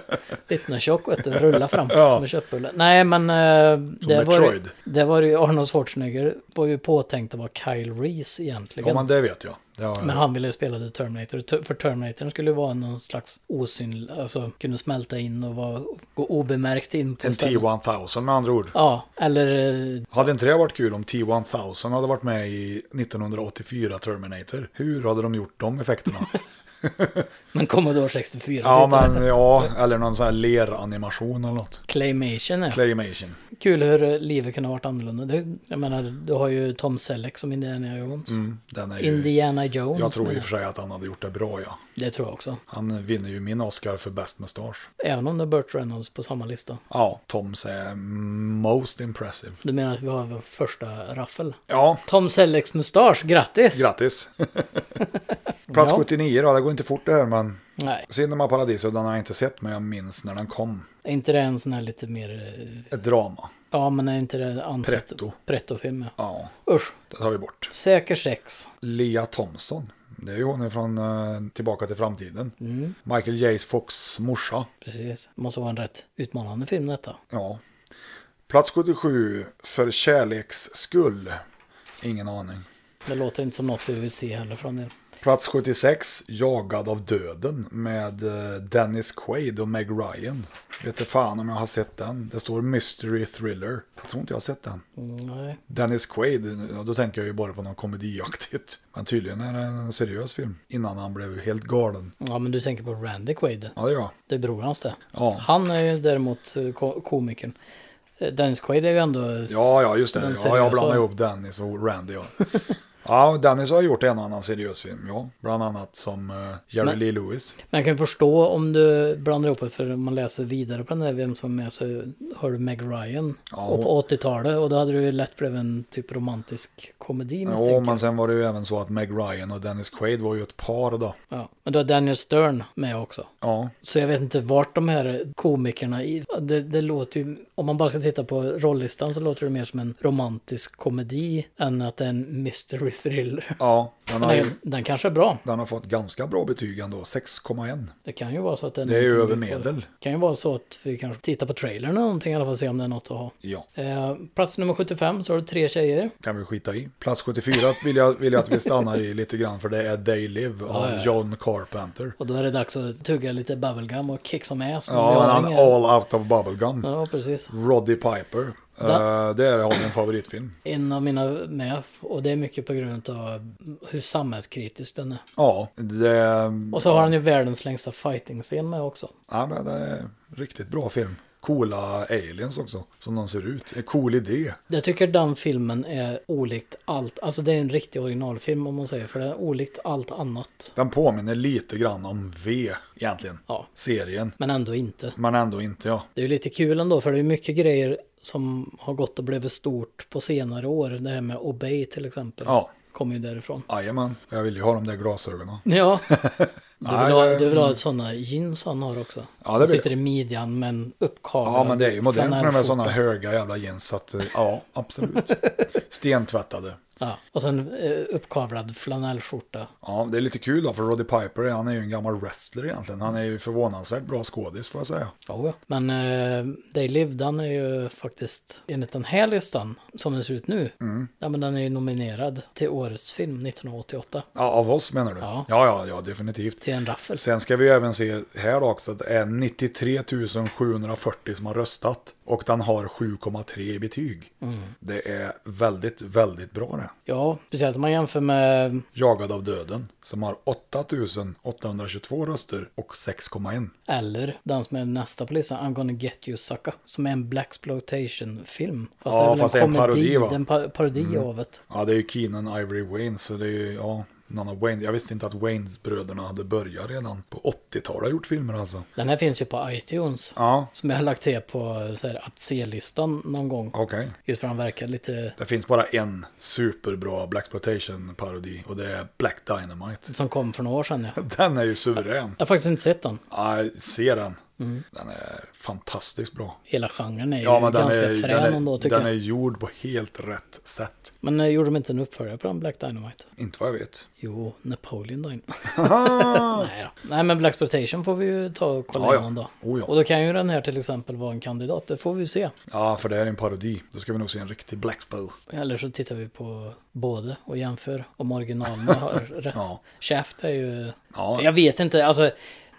[SPEAKER 2] Liten tjock, vet du, rulla fram
[SPEAKER 1] Ja.
[SPEAKER 2] som en köttbulle. Nej, men... eh, det var, ju-
[SPEAKER 1] Metroid.
[SPEAKER 2] det var ju Arnold Schwarzenegger, var ju påtänkt att vara Kyle Reese egentligen.
[SPEAKER 1] Ja, men det vet jag. Det har jag.
[SPEAKER 2] Men han ville ju spela The Terminator, Ter- för Terminator skulle ju vara någon slags osynlig, alltså kunna smälta in och vara, gå obemärkt in på
[SPEAKER 1] en
[SPEAKER 2] ställen.
[SPEAKER 1] T-1000 med andra ord.
[SPEAKER 2] Ja, eller eh,
[SPEAKER 1] Hade inte det varit kul om T-1000 hade varit med i 1984 Terminator? Hur hade de gjort de effekterna?
[SPEAKER 2] men Commodore 64.
[SPEAKER 1] ja,
[SPEAKER 2] sitter där.
[SPEAKER 1] men ja, eller någon sån här leranimation eller något.
[SPEAKER 2] Claymation ja.
[SPEAKER 1] Claymation.
[SPEAKER 2] Kul hur livet kunde ha varit annorlunda. Det, jag menar, du har ju Tom Selleck som Indiana Jones.
[SPEAKER 1] Mm, Den är ju,
[SPEAKER 2] Indiana Jones.
[SPEAKER 1] jag tror i
[SPEAKER 2] menar
[SPEAKER 1] och för sig att han hade gjort det bra, ja.
[SPEAKER 2] Det tror jag också.
[SPEAKER 1] Han vinner ju min Oscar för bäst mustasch.
[SPEAKER 2] Även om det är Burt Reynolds på samma lista.
[SPEAKER 1] Ja, Tom säger most impressive.
[SPEAKER 2] Du menar att vi har vår första raffel?
[SPEAKER 1] Ja,
[SPEAKER 2] Tom Sellecks mustasch, grattis!
[SPEAKER 1] grattis. Plats
[SPEAKER 2] Ja.
[SPEAKER 1] 79 då, det går inte fort det här men
[SPEAKER 2] Nej,
[SPEAKER 1] Cinema Paradiso den har jag inte sett men jag minns när den kom.
[SPEAKER 2] är inte det en sån här lite mer... eh,
[SPEAKER 1] Ett drama.
[SPEAKER 2] Ja, men är inte det ansett...
[SPEAKER 1] Pretto.
[SPEAKER 2] Pretto-film, ja.
[SPEAKER 1] Ja,
[SPEAKER 2] Usch,
[SPEAKER 1] det tar vi bort.
[SPEAKER 2] säker sex.
[SPEAKER 1] Lea Thompson. Det är ju hon från eh, Tillbaka till framtiden. Michael J. Fox morsa.
[SPEAKER 2] Precis, måste vara en rätt utmanande film detta.
[SPEAKER 1] Ja. Plats 77. För kärleks skull. Ingen aning.
[SPEAKER 2] Det låter inte som något vi vill se heller från det.
[SPEAKER 1] Plats 76, Jagad av döden med eh, Dennis Quaid och Meg Ryan. Vet du fan om jag har sett den. Det står Mystery Thriller. Jag tror inte jag har sett den.
[SPEAKER 2] Mm, Nej.
[SPEAKER 1] Dennis Quaid, ja, då tänker jag ju bara på något komediaktigt. Men tydligen är det en seriös film. Innan han blev helt galen.
[SPEAKER 2] Ja, men du tänker på Randy Quaid.
[SPEAKER 1] Ja, det gör jag.
[SPEAKER 2] Det är bror hans det.
[SPEAKER 1] Ja.
[SPEAKER 2] Han är ju däremot eh, ko- komikern. Eh, Dennis Quaid är ju ändå...
[SPEAKER 1] Ja, ja, just det.
[SPEAKER 2] Den
[SPEAKER 1] Ja, jag
[SPEAKER 2] seriösa.
[SPEAKER 1] blandar ihop Dennis och Randy. Ja. ja, Dennis har gjort en annan seriös film. Ja, bland annat som eh, Jerry
[SPEAKER 2] Men-
[SPEAKER 1] Lee Lewis.
[SPEAKER 2] Men jag kan förstå om du blandar ihop det, för om man läser vidare på den där vem som är så hör du Meg Ryan.
[SPEAKER 1] Ja,
[SPEAKER 2] och på 80-talet, och då hade det ju lätt blivit en typ romantisk komedi misstänker
[SPEAKER 1] Ja,
[SPEAKER 2] jag.
[SPEAKER 1] men sen var det ju även så att Meg Ryan och Dennis Quaid var ju ett par då.
[SPEAKER 2] Ja. Men du har Daniel Stern med också.
[SPEAKER 1] Ja,
[SPEAKER 2] Så jag vet inte vart de här komikerna, i, det, det låter ju, om man bara ska titta på rollistan så låter det mer som en romantisk komedi än att det är en mystery thriller.
[SPEAKER 1] ja den, har,
[SPEAKER 2] Nej,
[SPEAKER 1] ju-
[SPEAKER 2] den kanske är bra.
[SPEAKER 1] den har fått ganska bra betyg ändå, 6,1.
[SPEAKER 2] Det kan ju vara så att den
[SPEAKER 1] Det är ju över
[SPEAKER 2] någonting vi får-
[SPEAKER 1] medel.
[SPEAKER 2] Det kan ju vara så att vi kanske tittar på trailern eller någonting i alla fall se om det är något att ha.
[SPEAKER 1] Ja,
[SPEAKER 2] Eh, plats nummer 75 så har du tre tjejer.
[SPEAKER 1] kan vi skita i. Plats 74 vill jag, vill jag att vi stannar i lite grann för det är They Live av
[SPEAKER 2] ja, ja.
[SPEAKER 1] John Carpenter.
[SPEAKER 2] Och då är det dags att tugga lite bubblegum och kick som ass. Men vi
[SPEAKER 1] Ja,
[SPEAKER 2] har
[SPEAKER 1] men han
[SPEAKER 2] ingen-
[SPEAKER 1] All Out of Bubblegum.
[SPEAKER 2] Ja, precis.
[SPEAKER 1] Roddy Piper.
[SPEAKER 2] Da-
[SPEAKER 1] Eh, det är har vi en favoritfilm.
[SPEAKER 2] En av mina med. Och det är mycket på grund av hur samhällskritisk den är.
[SPEAKER 1] Ja, det,
[SPEAKER 2] Och så har han ju världens längsta fighting-scen med också.
[SPEAKER 1] ja, men det är en riktigt bra film. Coola aliens också, som de ser ut. En cool idé.
[SPEAKER 2] Jag tycker den filmen är olikt allt. Alltså det är en riktig originalfilm om man säger. För den är olikt allt annat.
[SPEAKER 1] Den påminner lite grann om V egentligen.
[SPEAKER 2] Ja.
[SPEAKER 1] Serien.
[SPEAKER 2] Men ändå inte.
[SPEAKER 1] Men ändå inte ja.
[SPEAKER 2] Det är ju lite kul ändå för det är mycket grejer som har gått och blivit stort på senare år. Det här med Obey till exempel.
[SPEAKER 1] Ja,
[SPEAKER 2] Kommer ju därifrån. (laughs)
[SPEAKER 1] jajamän. Jag vill ju ha de där glasögonen. (laughs)
[SPEAKER 2] Ja. Du vill,
[SPEAKER 1] Nej,
[SPEAKER 2] ha,
[SPEAKER 1] det-
[SPEAKER 2] du vill ha sådana jeans han har också.
[SPEAKER 1] Ja,
[SPEAKER 2] som
[SPEAKER 1] det vill
[SPEAKER 2] sitter i midjan men uppkavlad.
[SPEAKER 1] Ja, men det är ju modernt med de här
[SPEAKER 2] flanellskjorta.
[SPEAKER 1] sådana höga jävla jeans. Så att, eh, ja, absolut. Stentvättade.
[SPEAKER 2] Ja, och sen eh, uppkavlad flanellskjorta.
[SPEAKER 1] Ja, det är lite kul då, för Roddy Piper, han är ju en gammal wrestler egentligen. Han är ju förvånansvärt bra skådis, får jag säga.
[SPEAKER 2] Ja, ja. Men eh, They Live, den är ju faktiskt, enligt den här listan, som den ser ut nu,
[SPEAKER 1] Mm.
[SPEAKER 2] ja, men den är ju nominerad till årets film 1988.
[SPEAKER 1] Ja, av oss menar du?
[SPEAKER 2] Ja.
[SPEAKER 1] ja, ja, ja, definitivt.
[SPEAKER 2] Till en raffel.
[SPEAKER 1] Sen ska vi även se här då också att det är 93 740 som har röstat och den har 7,3 i betyg. Det är väldigt, väldigt bra det här. med.
[SPEAKER 2] Ja, speciellt om man jämför med...
[SPEAKER 1] Jagad av döden, som har 8822 röster och 6,1.
[SPEAKER 2] Eller den som är nästa på listan, I'm gonna get you sucka. Som är en Black film Fast
[SPEAKER 1] Ja,
[SPEAKER 2] det är väl
[SPEAKER 1] fast det
[SPEAKER 2] en
[SPEAKER 1] är en
[SPEAKER 2] komedi,
[SPEAKER 1] parodi, va? Mm.
[SPEAKER 2] en par- parodi av ett.
[SPEAKER 1] Ja, det är ju Keenan Ivory Wayne, så det är ju, ja, någon av Wayne. Jag visste inte att Waynes-bröderna hade börjat redan på 80-talet och gjort filmer alltså.
[SPEAKER 2] Den här finns ju på iTunes.
[SPEAKER 1] Ja,
[SPEAKER 2] Som jag har lagt till på så här, att se-listan någon gång.
[SPEAKER 1] okej.
[SPEAKER 2] Just för han verkar lite
[SPEAKER 1] Det finns bara en superbra Blaxploitation-parodi och det är Black Dynamite. (laughs)
[SPEAKER 2] som kom för några år sedan. Ja.
[SPEAKER 1] Den är ju suverän.
[SPEAKER 2] Jag har faktiskt inte sett den.
[SPEAKER 1] Ja, jag ser den. Den är fantastiskt bra.
[SPEAKER 2] Hela genren Mm. är ju
[SPEAKER 1] Ja, men den
[SPEAKER 2] ganska
[SPEAKER 1] är,
[SPEAKER 2] frän
[SPEAKER 1] den,
[SPEAKER 2] ändå
[SPEAKER 1] är,
[SPEAKER 2] tycker
[SPEAKER 1] den är
[SPEAKER 2] jag.
[SPEAKER 1] gjord på helt rätt sätt.
[SPEAKER 2] Men eh, gjorde de inte en uppföljare på den Black Dynamite?
[SPEAKER 1] Inte vad jag
[SPEAKER 2] (laughs)
[SPEAKER 1] vet.
[SPEAKER 2] Jo, Napoleon (laughs) Dynamite. Nej, då. Nej men Black Exploitation får vi ju ta och kolla
[SPEAKER 1] Ja, ja.
[SPEAKER 2] igenom då.
[SPEAKER 1] Oh, ja.
[SPEAKER 2] Och då kan ju den här till exempel vara en kandidat, det får vi se.
[SPEAKER 1] Ja, för det här är en parodi. Då ska vi nog se en riktig Blaxpo.
[SPEAKER 2] Eller så tittar vi på både och jämför
[SPEAKER 1] (laughs)
[SPEAKER 2] om originalen har rätt.
[SPEAKER 1] Ja.
[SPEAKER 2] Shaft är ju...
[SPEAKER 1] Ja.
[SPEAKER 2] Jag vet inte, alltså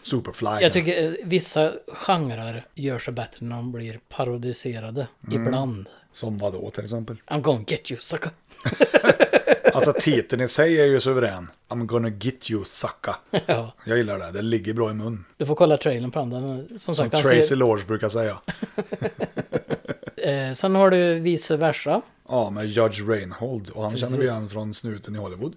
[SPEAKER 1] Superfly.
[SPEAKER 2] jag tycker eh, vissa genrer gör sig bättre när de blir parodiserade.
[SPEAKER 1] Mm.
[SPEAKER 2] Ibland.
[SPEAKER 1] Som vadå till exempel?
[SPEAKER 2] I'm gonna get you sucker. (laughs)
[SPEAKER 1] Alltså titeln i sig är ju suverän. I'm gonna get you sucka.
[SPEAKER 2] ja,
[SPEAKER 1] Jag gillar det, det ligger bra i mun.
[SPEAKER 2] du får kolla trailern på den. den. Som
[SPEAKER 1] Som
[SPEAKER 2] sagt, han
[SPEAKER 1] Tracy
[SPEAKER 2] ser,
[SPEAKER 1] Lorge brukar säga.
[SPEAKER 2] eh, sen har du vice versa.
[SPEAKER 1] Ja, med Judge Reinhold. Och han
[SPEAKER 2] Precis. Mhm.
[SPEAKER 1] känner vi igen från snuten i Hollywood.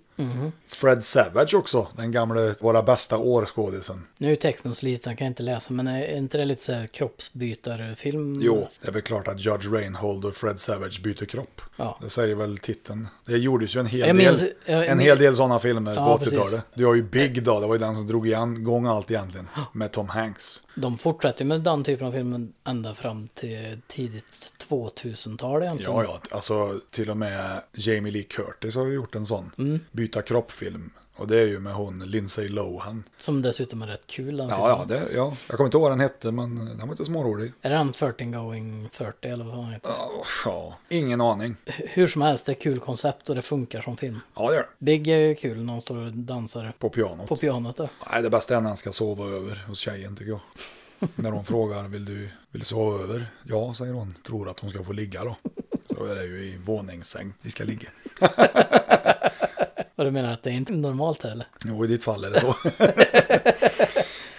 [SPEAKER 1] Fred Savage också, den gamle Våra bästa år-skådisen.
[SPEAKER 2] Nu är texten så liten, jag kan inte läsa, men är inte det lite så här kroppsbytarfilm?
[SPEAKER 1] Jo, det är väl klart att Judge Reinhold och Fred Savage byter kropp.
[SPEAKER 2] Ja.
[SPEAKER 1] Det säger väl titeln. Det gjordes ju en hel
[SPEAKER 2] Jag
[SPEAKER 1] del,
[SPEAKER 2] minns- jag-
[SPEAKER 1] en hel del sådana filmer
[SPEAKER 2] Ja,
[SPEAKER 1] på
[SPEAKER 2] precis.
[SPEAKER 1] 80-talet. Du har ju Big då, det var ju den som drog igen gång allt egentligen. Med Tom Hanks.
[SPEAKER 2] De fortsätter ju med den typen av filmer ända fram till tidigt 2000-tal egentligen.
[SPEAKER 1] Ja, ja, alltså till och med Jamie Lee Curtis har ju gjort en sån.
[SPEAKER 2] Mm.
[SPEAKER 1] Byta kropp-film. Och det är ju med hon Lindsay Lohan.
[SPEAKER 2] Som dessutom är rätt kul den
[SPEAKER 1] Ja,
[SPEAKER 2] filmen.
[SPEAKER 1] ja, det, ja, jag kommer inte ihåg vad den hette, men den var inte smårolig.
[SPEAKER 2] Är den 13 going 40 eller vad fan heter?
[SPEAKER 1] Ja, ja, ingen aning.
[SPEAKER 2] Hur som helst, det är kul koncept och det funkar som film.
[SPEAKER 1] Ja, det är det.
[SPEAKER 2] Big är ju kul när han står och dansar
[SPEAKER 1] På pianot.
[SPEAKER 2] på pianot då.
[SPEAKER 1] Nej, det bästa är när han ska sova över hos tjejen tycker jag. när hon frågar, vill du, vill du sova över? Ja, säger hon. Tror att hon ska få ligga då. Så är det ju i våningssäng vi ska ligga.
[SPEAKER 2] Och du menar att det är inte normalt heller?
[SPEAKER 1] Jo, i ditt fall är det så.
[SPEAKER 2] (laughs)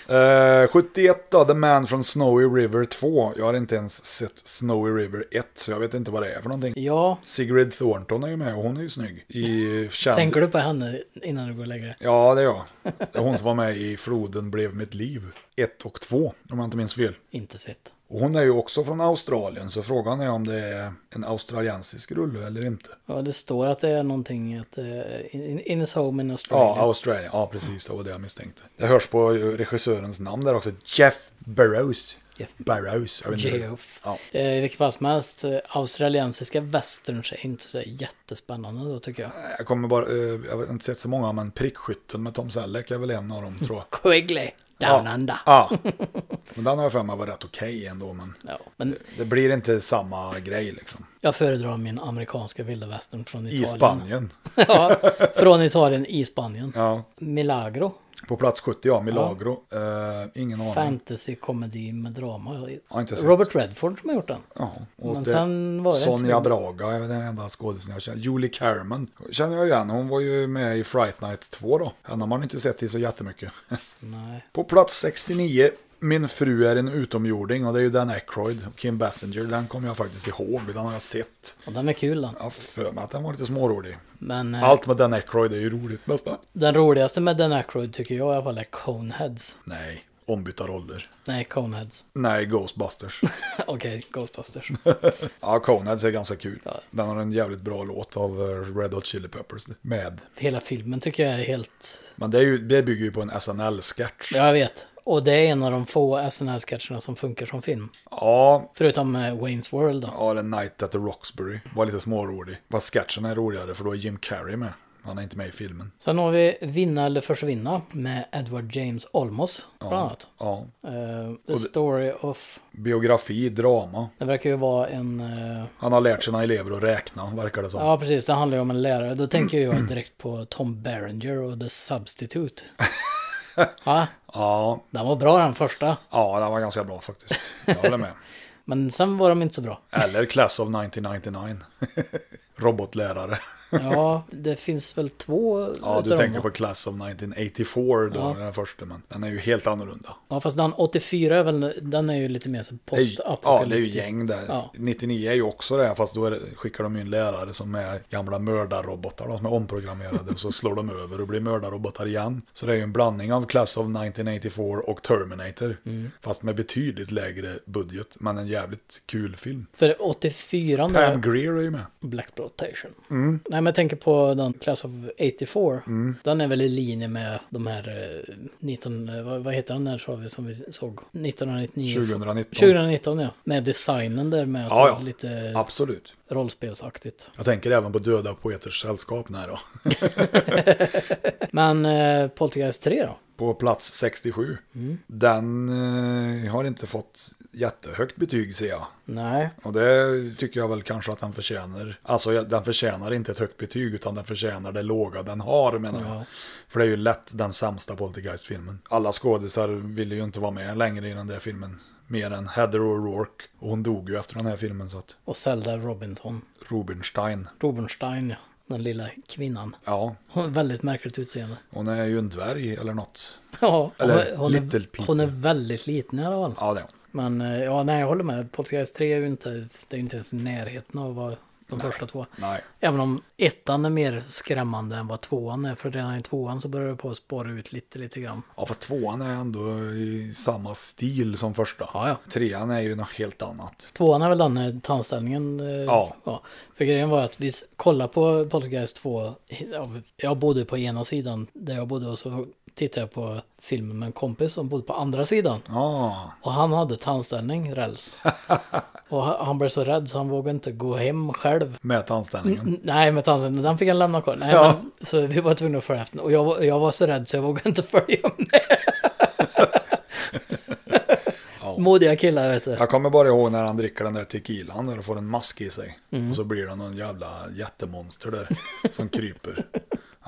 [SPEAKER 1] Eh, 71 då, The Man from Snowy River 2. Jag har inte ens sett Snowy River 1, så jag vet inte vad det är för någonting.
[SPEAKER 2] Ja,
[SPEAKER 1] Sigrid Thornton är ju med och hon är ju snygg. I känd...
[SPEAKER 2] tänker du på henne innan du går och lägger dig?
[SPEAKER 1] Ja, det är jag. Det är hon som var med i Floden blev mitt liv 1 och 2, om jag inte minns fel.
[SPEAKER 2] Inte sett.
[SPEAKER 1] Och hon är ju också från Australien, så frågan är om det är en australiensisk rulle eller inte.
[SPEAKER 2] Ja, det står att det är någonting att eh, in, in his home in Australia.
[SPEAKER 1] Ja, Australien. Ja, precis. Det var det jag misstänkte. Det hörs på regissörens namn där också. Jeff Burrows.
[SPEAKER 2] Jeff-
[SPEAKER 1] Burrows. Jag vet inte. hur-
[SPEAKER 2] Geoff.
[SPEAKER 1] Ja.
[SPEAKER 2] Eh, I vilket fall som helst, eh, australiensiska westerns är inte så jättespännande då tycker jag.
[SPEAKER 1] Jag kommer bara... eh, Jag har inte sett så många, men Prickskytten med Tom Selleck är väl en av dem, tror
[SPEAKER 2] (laughs)
[SPEAKER 1] jag.
[SPEAKER 2] Quigley, down
[SPEAKER 1] Ja.
[SPEAKER 2] under.
[SPEAKER 1] Ja. Men den har jag för mig var rätt okej ändå, men
[SPEAKER 2] Ja, men
[SPEAKER 1] det blir inte samma grej liksom.
[SPEAKER 2] jag föredrar min amerikanska vilda västern från
[SPEAKER 1] I
[SPEAKER 2] Italien.
[SPEAKER 1] Spanien.
[SPEAKER 2] (laughs) ja, från Italien i Spanien.
[SPEAKER 1] Ja.
[SPEAKER 2] Milagro,
[SPEAKER 1] På plats 70, ja. Milagro. Eh, ingen aning.
[SPEAKER 2] fantasy-komedi med drama.
[SPEAKER 1] Ja, inte sett.
[SPEAKER 2] Robert Redford som har gjort den.
[SPEAKER 1] Ja, och
[SPEAKER 2] Men
[SPEAKER 1] det-
[SPEAKER 2] sen var det inte så
[SPEAKER 1] Sonja
[SPEAKER 2] mycket.
[SPEAKER 1] Braga är väl den enda skådespelaren jag känner. Julie Carman känner jag igen. Hon var ju med i Fright Night 2 då. Henne har man inte sett i så jättemycket. (laughs)
[SPEAKER 2] Nej.
[SPEAKER 1] På plats 69, Min fru är en utomjording och det är ju Dan Aykroyd och Kim Basinger. Den kommer jag faktiskt ihåg, den har jag sett.
[SPEAKER 2] Och den är kul den.
[SPEAKER 1] Jag har för mig att den var lite smårolig.
[SPEAKER 2] Men eh,
[SPEAKER 1] Allt med Dan Aykroyd är ju roligt nästan.
[SPEAKER 2] den roligaste med Dan Aykroyd tycker jag i alla fall är Coneheads.
[SPEAKER 1] Nej, ombytta roller.
[SPEAKER 2] Nej, Coneheads. (laughs)
[SPEAKER 1] Nej, Ghostbusters.
[SPEAKER 2] Okej, Ghostbusters.
[SPEAKER 1] ja, Coneheads är ganska kul. Den har en jävligt bra låt av eh, Red Hot Chili Peppers med.
[SPEAKER 2] Hela filmen tycker jag är helt
[SPEAKER 1] Men det, är ju, det bygger ju på en SNL-sketch. Ja.
[SPEAKER 2] Ja, Jag vet. Och det är en av de få SNL-sketcherna som funkar som film.
[SPEAKER 1] ja.
[SPEAKER 2] Förutom eh, Wayne's World då.
[SPEAKER 1] eller Night at the Roxbury. Var lite smårolig. Fast sketchen är roligare för då är Jim Carrey med. Han är inte med i filmen.
[SPEAKER 2] Sen har vi Vinna eller försvinna med Edward James Olmos bland annat.
[SPEAKER 1] Ja.
[SPEAKER 2] Eh, The Story of...
[SPEAKER 1] Biografi, drama.
[SPEAKER 2] Det verkar ju vara en... eh,
[SPEAKER 1] Han har lärt sina elever att räkna, verkar det som.
[SPEAKER 2] ja, precis. Det handlar ju om en lärare. Då tänker jag direkt på Tom Berenger och
[SPEAKER 1] (laughs)
[SPEAKER 2] The Substitute. Ja,
[SPEAKER 1] Ja,
[SPEAKER 2] den var bra den första.
[SPEAKER 1] ja den var ganska bra faktiskt. Jag håller med.
[SPEAKER 2] Men sen var de inte så bra.
[SPEAKER 1] Eller Class of 1999. (laughs) Robotlärare.
[SPEAKER 2] Ja, det finns väl två
[SPEAKER 1] Ja,
[SPEAKER 2] utav
[SPEAKER 1] du
[SPEAKER 2] dem,
[SPEAKER 1] tänker
[SPEAKER 2] va?
[SPEAKER 1] på Class of 1984 då,
[SPEAKER 2] Ja.
[SPEAKER 1] den första, men den är ju helt annorlunda.
[SPEAKER 2] Ja, fast den 84 är väl, den är ju lite mer så
[SPEAKER 1] Det är ju- Ja, det är ju
[SPEAKER 2] postapokalyptisk.
[SPEAKER 1] gäng där.
[SPEAKER 2] Ja.
[SPEAKER 1] 99 är ju också det, fast då är det, skickar de ju in lärare som är gamla mördarrobotar då, som är omprogrammerade och så slår de över och blir mördarrobotar igen. Så det är ju en blandning av Class of 1984 och Terminator, fast med betydligt lägre budget, men en jävligt kul film.
[SPEAKER 2] För 84
[SPEAKER 1] Pam
[SPEAKER 2] med
[SPEAKER 1] Greer är ju med.
[SPEAKER 2] Black Exploitation.
[SPEAKER 1] Mm.
[SPEAKER 2] Nej, men jag tänker på den Class of 84. Den är väl i linje med de här eh, 19, eh, vad, vad heter den där sa vi som vi såg? 1999.
[SPEAKER 1] 2019.
[SPEAKER 2] 2019 ja, med designen där med att
[SPEAKER 1] Ja, ja.
[SPEAKER 2] det är lite
[SPEAKER 1] Absolut.
[SPEAKER 2] rollspelsaktigt.
[SPEAKER 1] Jag tänker även på Döda Poeters Sällskap när då.
[SPEAKER 2] Men eh, Poltergeist 3 då? Mm.
[SPEAKER 1] på plats 67. Den eh, har inte fått jättehögt betyg ser jag.
[SPEAKER 2] Nej,
[SPEAKER 1] Och det tycker jag väl kanske att den förtjänar. Alltså jag- den förtjänar inte ett högt betyg utan den förtjänar det låga den har menar jag.
[SPEAKER 2] Ja.
[SPEAKER 1] För det är ju lätt den sämsta Poltergeist-filmen. Alla skådisar ville ju inte vara med längre i den där filmen. Mer än Heather O'Rourke. Och hon dog ju efter den här filmen så att
[SPEAKER 2] och Zelda Robinson.
[SPEAKER 1] Rubinstein.
[SPEAKER 2] Robinstein, ja. Den lilla kvinnan.
[SPEAKER 1] Ja,
[SPEAKER 2] Hon har väldigt märkligt utseende.
[SPEAKER 1] hon är ju en dvärg eller något.
[SPEAKER 2] Ja, hon,
[SPEAKER 1] Eller
[SPEAKER 2] är- hon,
[SPEAKER 1] Little People.
[SPEAKER 2] är, hon är väldigt liten i alla fall.
[SPEAKER 1] Ja, det är hon.
[SPEAKER 2] Men eh, ja, nej, jag håller med. Poltergeist 3 är ju inte, det är ju inte ens i närheten av vad de första två.
[SPEAKER 1] Nej.
[SPEAKER 2] Även om ettan är mer skrämmande än vad tvåan är. För redan i tvåan så börjar det på att spåra ut lite, lite grann.
[SPEAKER 1] Ja, fast tvåan är ändå i samma stil som första.
[SPEAKER 2] Ja, ja.
[SPEAKER 1] Trean är ju något helt annat.
[SPEAKER 2] Tvåan är väl den eh, tandställningen? eh,
[SPEAKER 1] Ja.
[SPEAKER 2] För grejen var att vi s- kollade på Poltergeist 2. Ja, Jag bodde på ena sidan där jag bodde och så tittade jag på filmen med en kompis som bodde på andra sidan.
[SPEAKER 1] Ja,
[SPEAKER 2] Och han hade
[SPEAKER 1] (laughs)
[SPEAKER 2] tandställning, räls. och ha- han blev så rädd så han vågade inte gå hem själv.
[SPEAKER 1] med tandställningen.
[SPEAKER 2] N- Nej, men tandställningen, den fick han lämna kvar. Nej,
[SPEAKER 1] Ja.
[SPEAKER 2] men, så vi var tvungna att följa efter. Och jag, var- jag var så rädd så jag vågade inte (laughs) följa
[SPEAKER 1] (laughs)
[SPEAKER 2] med. Modiga killar, vet du.
[SPEAKER 1] Jag kommer bara ihåg när han dricker den där tequilan där och får en mask i sig.
[SPEAKER 2] Mm.
[SPEAKER 1] Och så blir det någon jävla jättemonster där som kryper.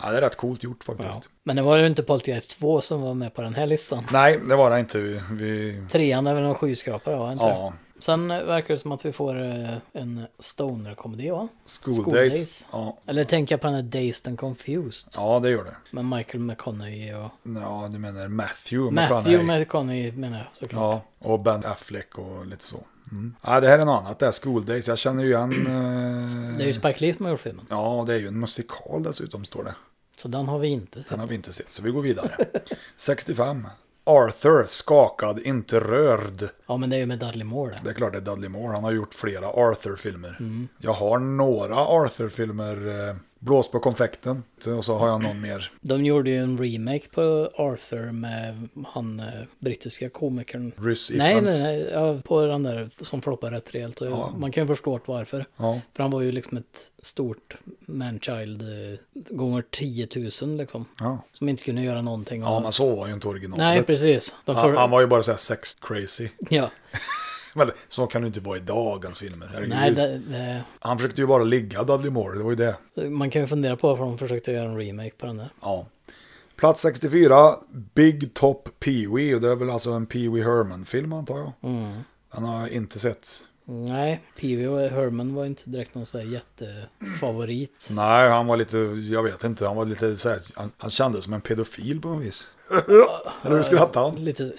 [SPEAKER 1] Ja, det är rätt coolt gjort faktiskt.
[SPEAKER 2] Ja. Men det var ju inte Poltergeist 2 som var med på den här listan.
[SPEAKER 1] Nej, det var det inte. Vi, vi...
[SPEAKER 2] Trean är väl någon skyskrapare va? Inte
[SPEAKER 1] Ja,
[SPEAKER 2] det? Sen eh, verkar det som att vi får eh, en stoner-komedi va?
[SPEAKER 1] school,
[SPEAKER 2] School
[SPEAKER 1] days.
[SPEAKER 2] Days.
[SPEAKER 1] Ja.
[SPEAKER 2] Eller tänker jag på den här Dazed and Confused
[SPEAKER 1] ja, det gör det.
[SPEAKER 2] med Michael McConaughey och...
[SPEAKER 1] Ja, du menar Matthew
[SPEAKER 2] Matthew
[SPEAKER 1] McConaughey.
[SPEAKER 2] McConaughey menar jag såklart.
[SPEAKER 1] Ja, och Ben Affleck och lite så. Mm. Ja, det här är något annat, det är School Days. Jag känner ju igen...
[SPEAKER 2] (clears throat)
[SPEAKER 1] Eh...
[SPEAKER 2] Det är ju Spike Lee som har gjort filmen.
[SPEAKER 1] Ja, det är ju en musikal dessutom står det.
[SPEAKER 2] Så den har vi inte sett.
[SPEAKER 1] Den har vi inte sett, så vi går vidare. (laughs) 65. Arthur, skakad, inte rörd.
[SPEAKER 2] Ja men det är ju med Dudley Moore det.
[SPEAKER 1] Det är klart det är Dudley Moore, han har gjort flera Arthur-filmer.
[SPEAKER 2] Mm.
[SPEAKER 1] Jag har några Arthur-filmer, eh, Blås på konfekten, och så har jag någon mer.
[SPEAKER 2] De gjorde ju en remake på Arthur med han eh, brittiska komikern.
[SPEAKER 1] Rhys
[SPEAKER 2] Nej,
[SPEAKER 1] Ifrans.
[SPEAKER 2] nej, nej, ja, på den där som floppar rätt rejält. Och
[SPEAKER 1] Ja.
[SPEAKER 2] Man kan ju förstå varför.
[SPEAKER 1] Ja.
[SPEAKER 2] För han var ju liksom ett stort manchild eh, gånger 10 000 liksom.
[SPEAKER 1] Ja.
[SPEAKER 2] Som inte kunde göra någonting.
[SPEAKER 1] ja,
[SPEAKER 2] Och-
[SPEAKER 1] men så var ju inte originalet.
[SPEAKER 2] Nej, precis. De
[SPEAKER 1] Han,
[SPEAKER 2] för...
[SPEAKER 1] han var ju bara såhär sex crazy.
[SPEAKER 2] ja.
[SPEAKER 1] Men så kan det inte vara i dagens filmer. herregud.
[SPEAKER 2] Nej, det, det...
[SPEAKER 1] Han försökte ju bara ligga Dudley Moore, det var ju det.
[SPEAKER 2] Man kan ju fundera på varför de försökte göra en remake på den där.
[SPEAKER 1] Ja. Plats 64, Big Top Pee-Wee. Och det är väl alltså en Pee-Wee Herman-film antar jag.
[SPEAKER 2] Mm.
[SPEAKER 1] Den har jag inte sett.
[SPEAKER 2] Nej, Peewee och Herman var inte direkt någon sån där jättefavorit.
[SPEAKER 1] Nej, han var lite, jag vet inte, han var lite så här, han, han kändes som en pedofil på något
[SPEAKER 2] (laughs)
[SPEAKER 1] vis. Eller hur skrattar han?
[SPEAKER 2] Lite,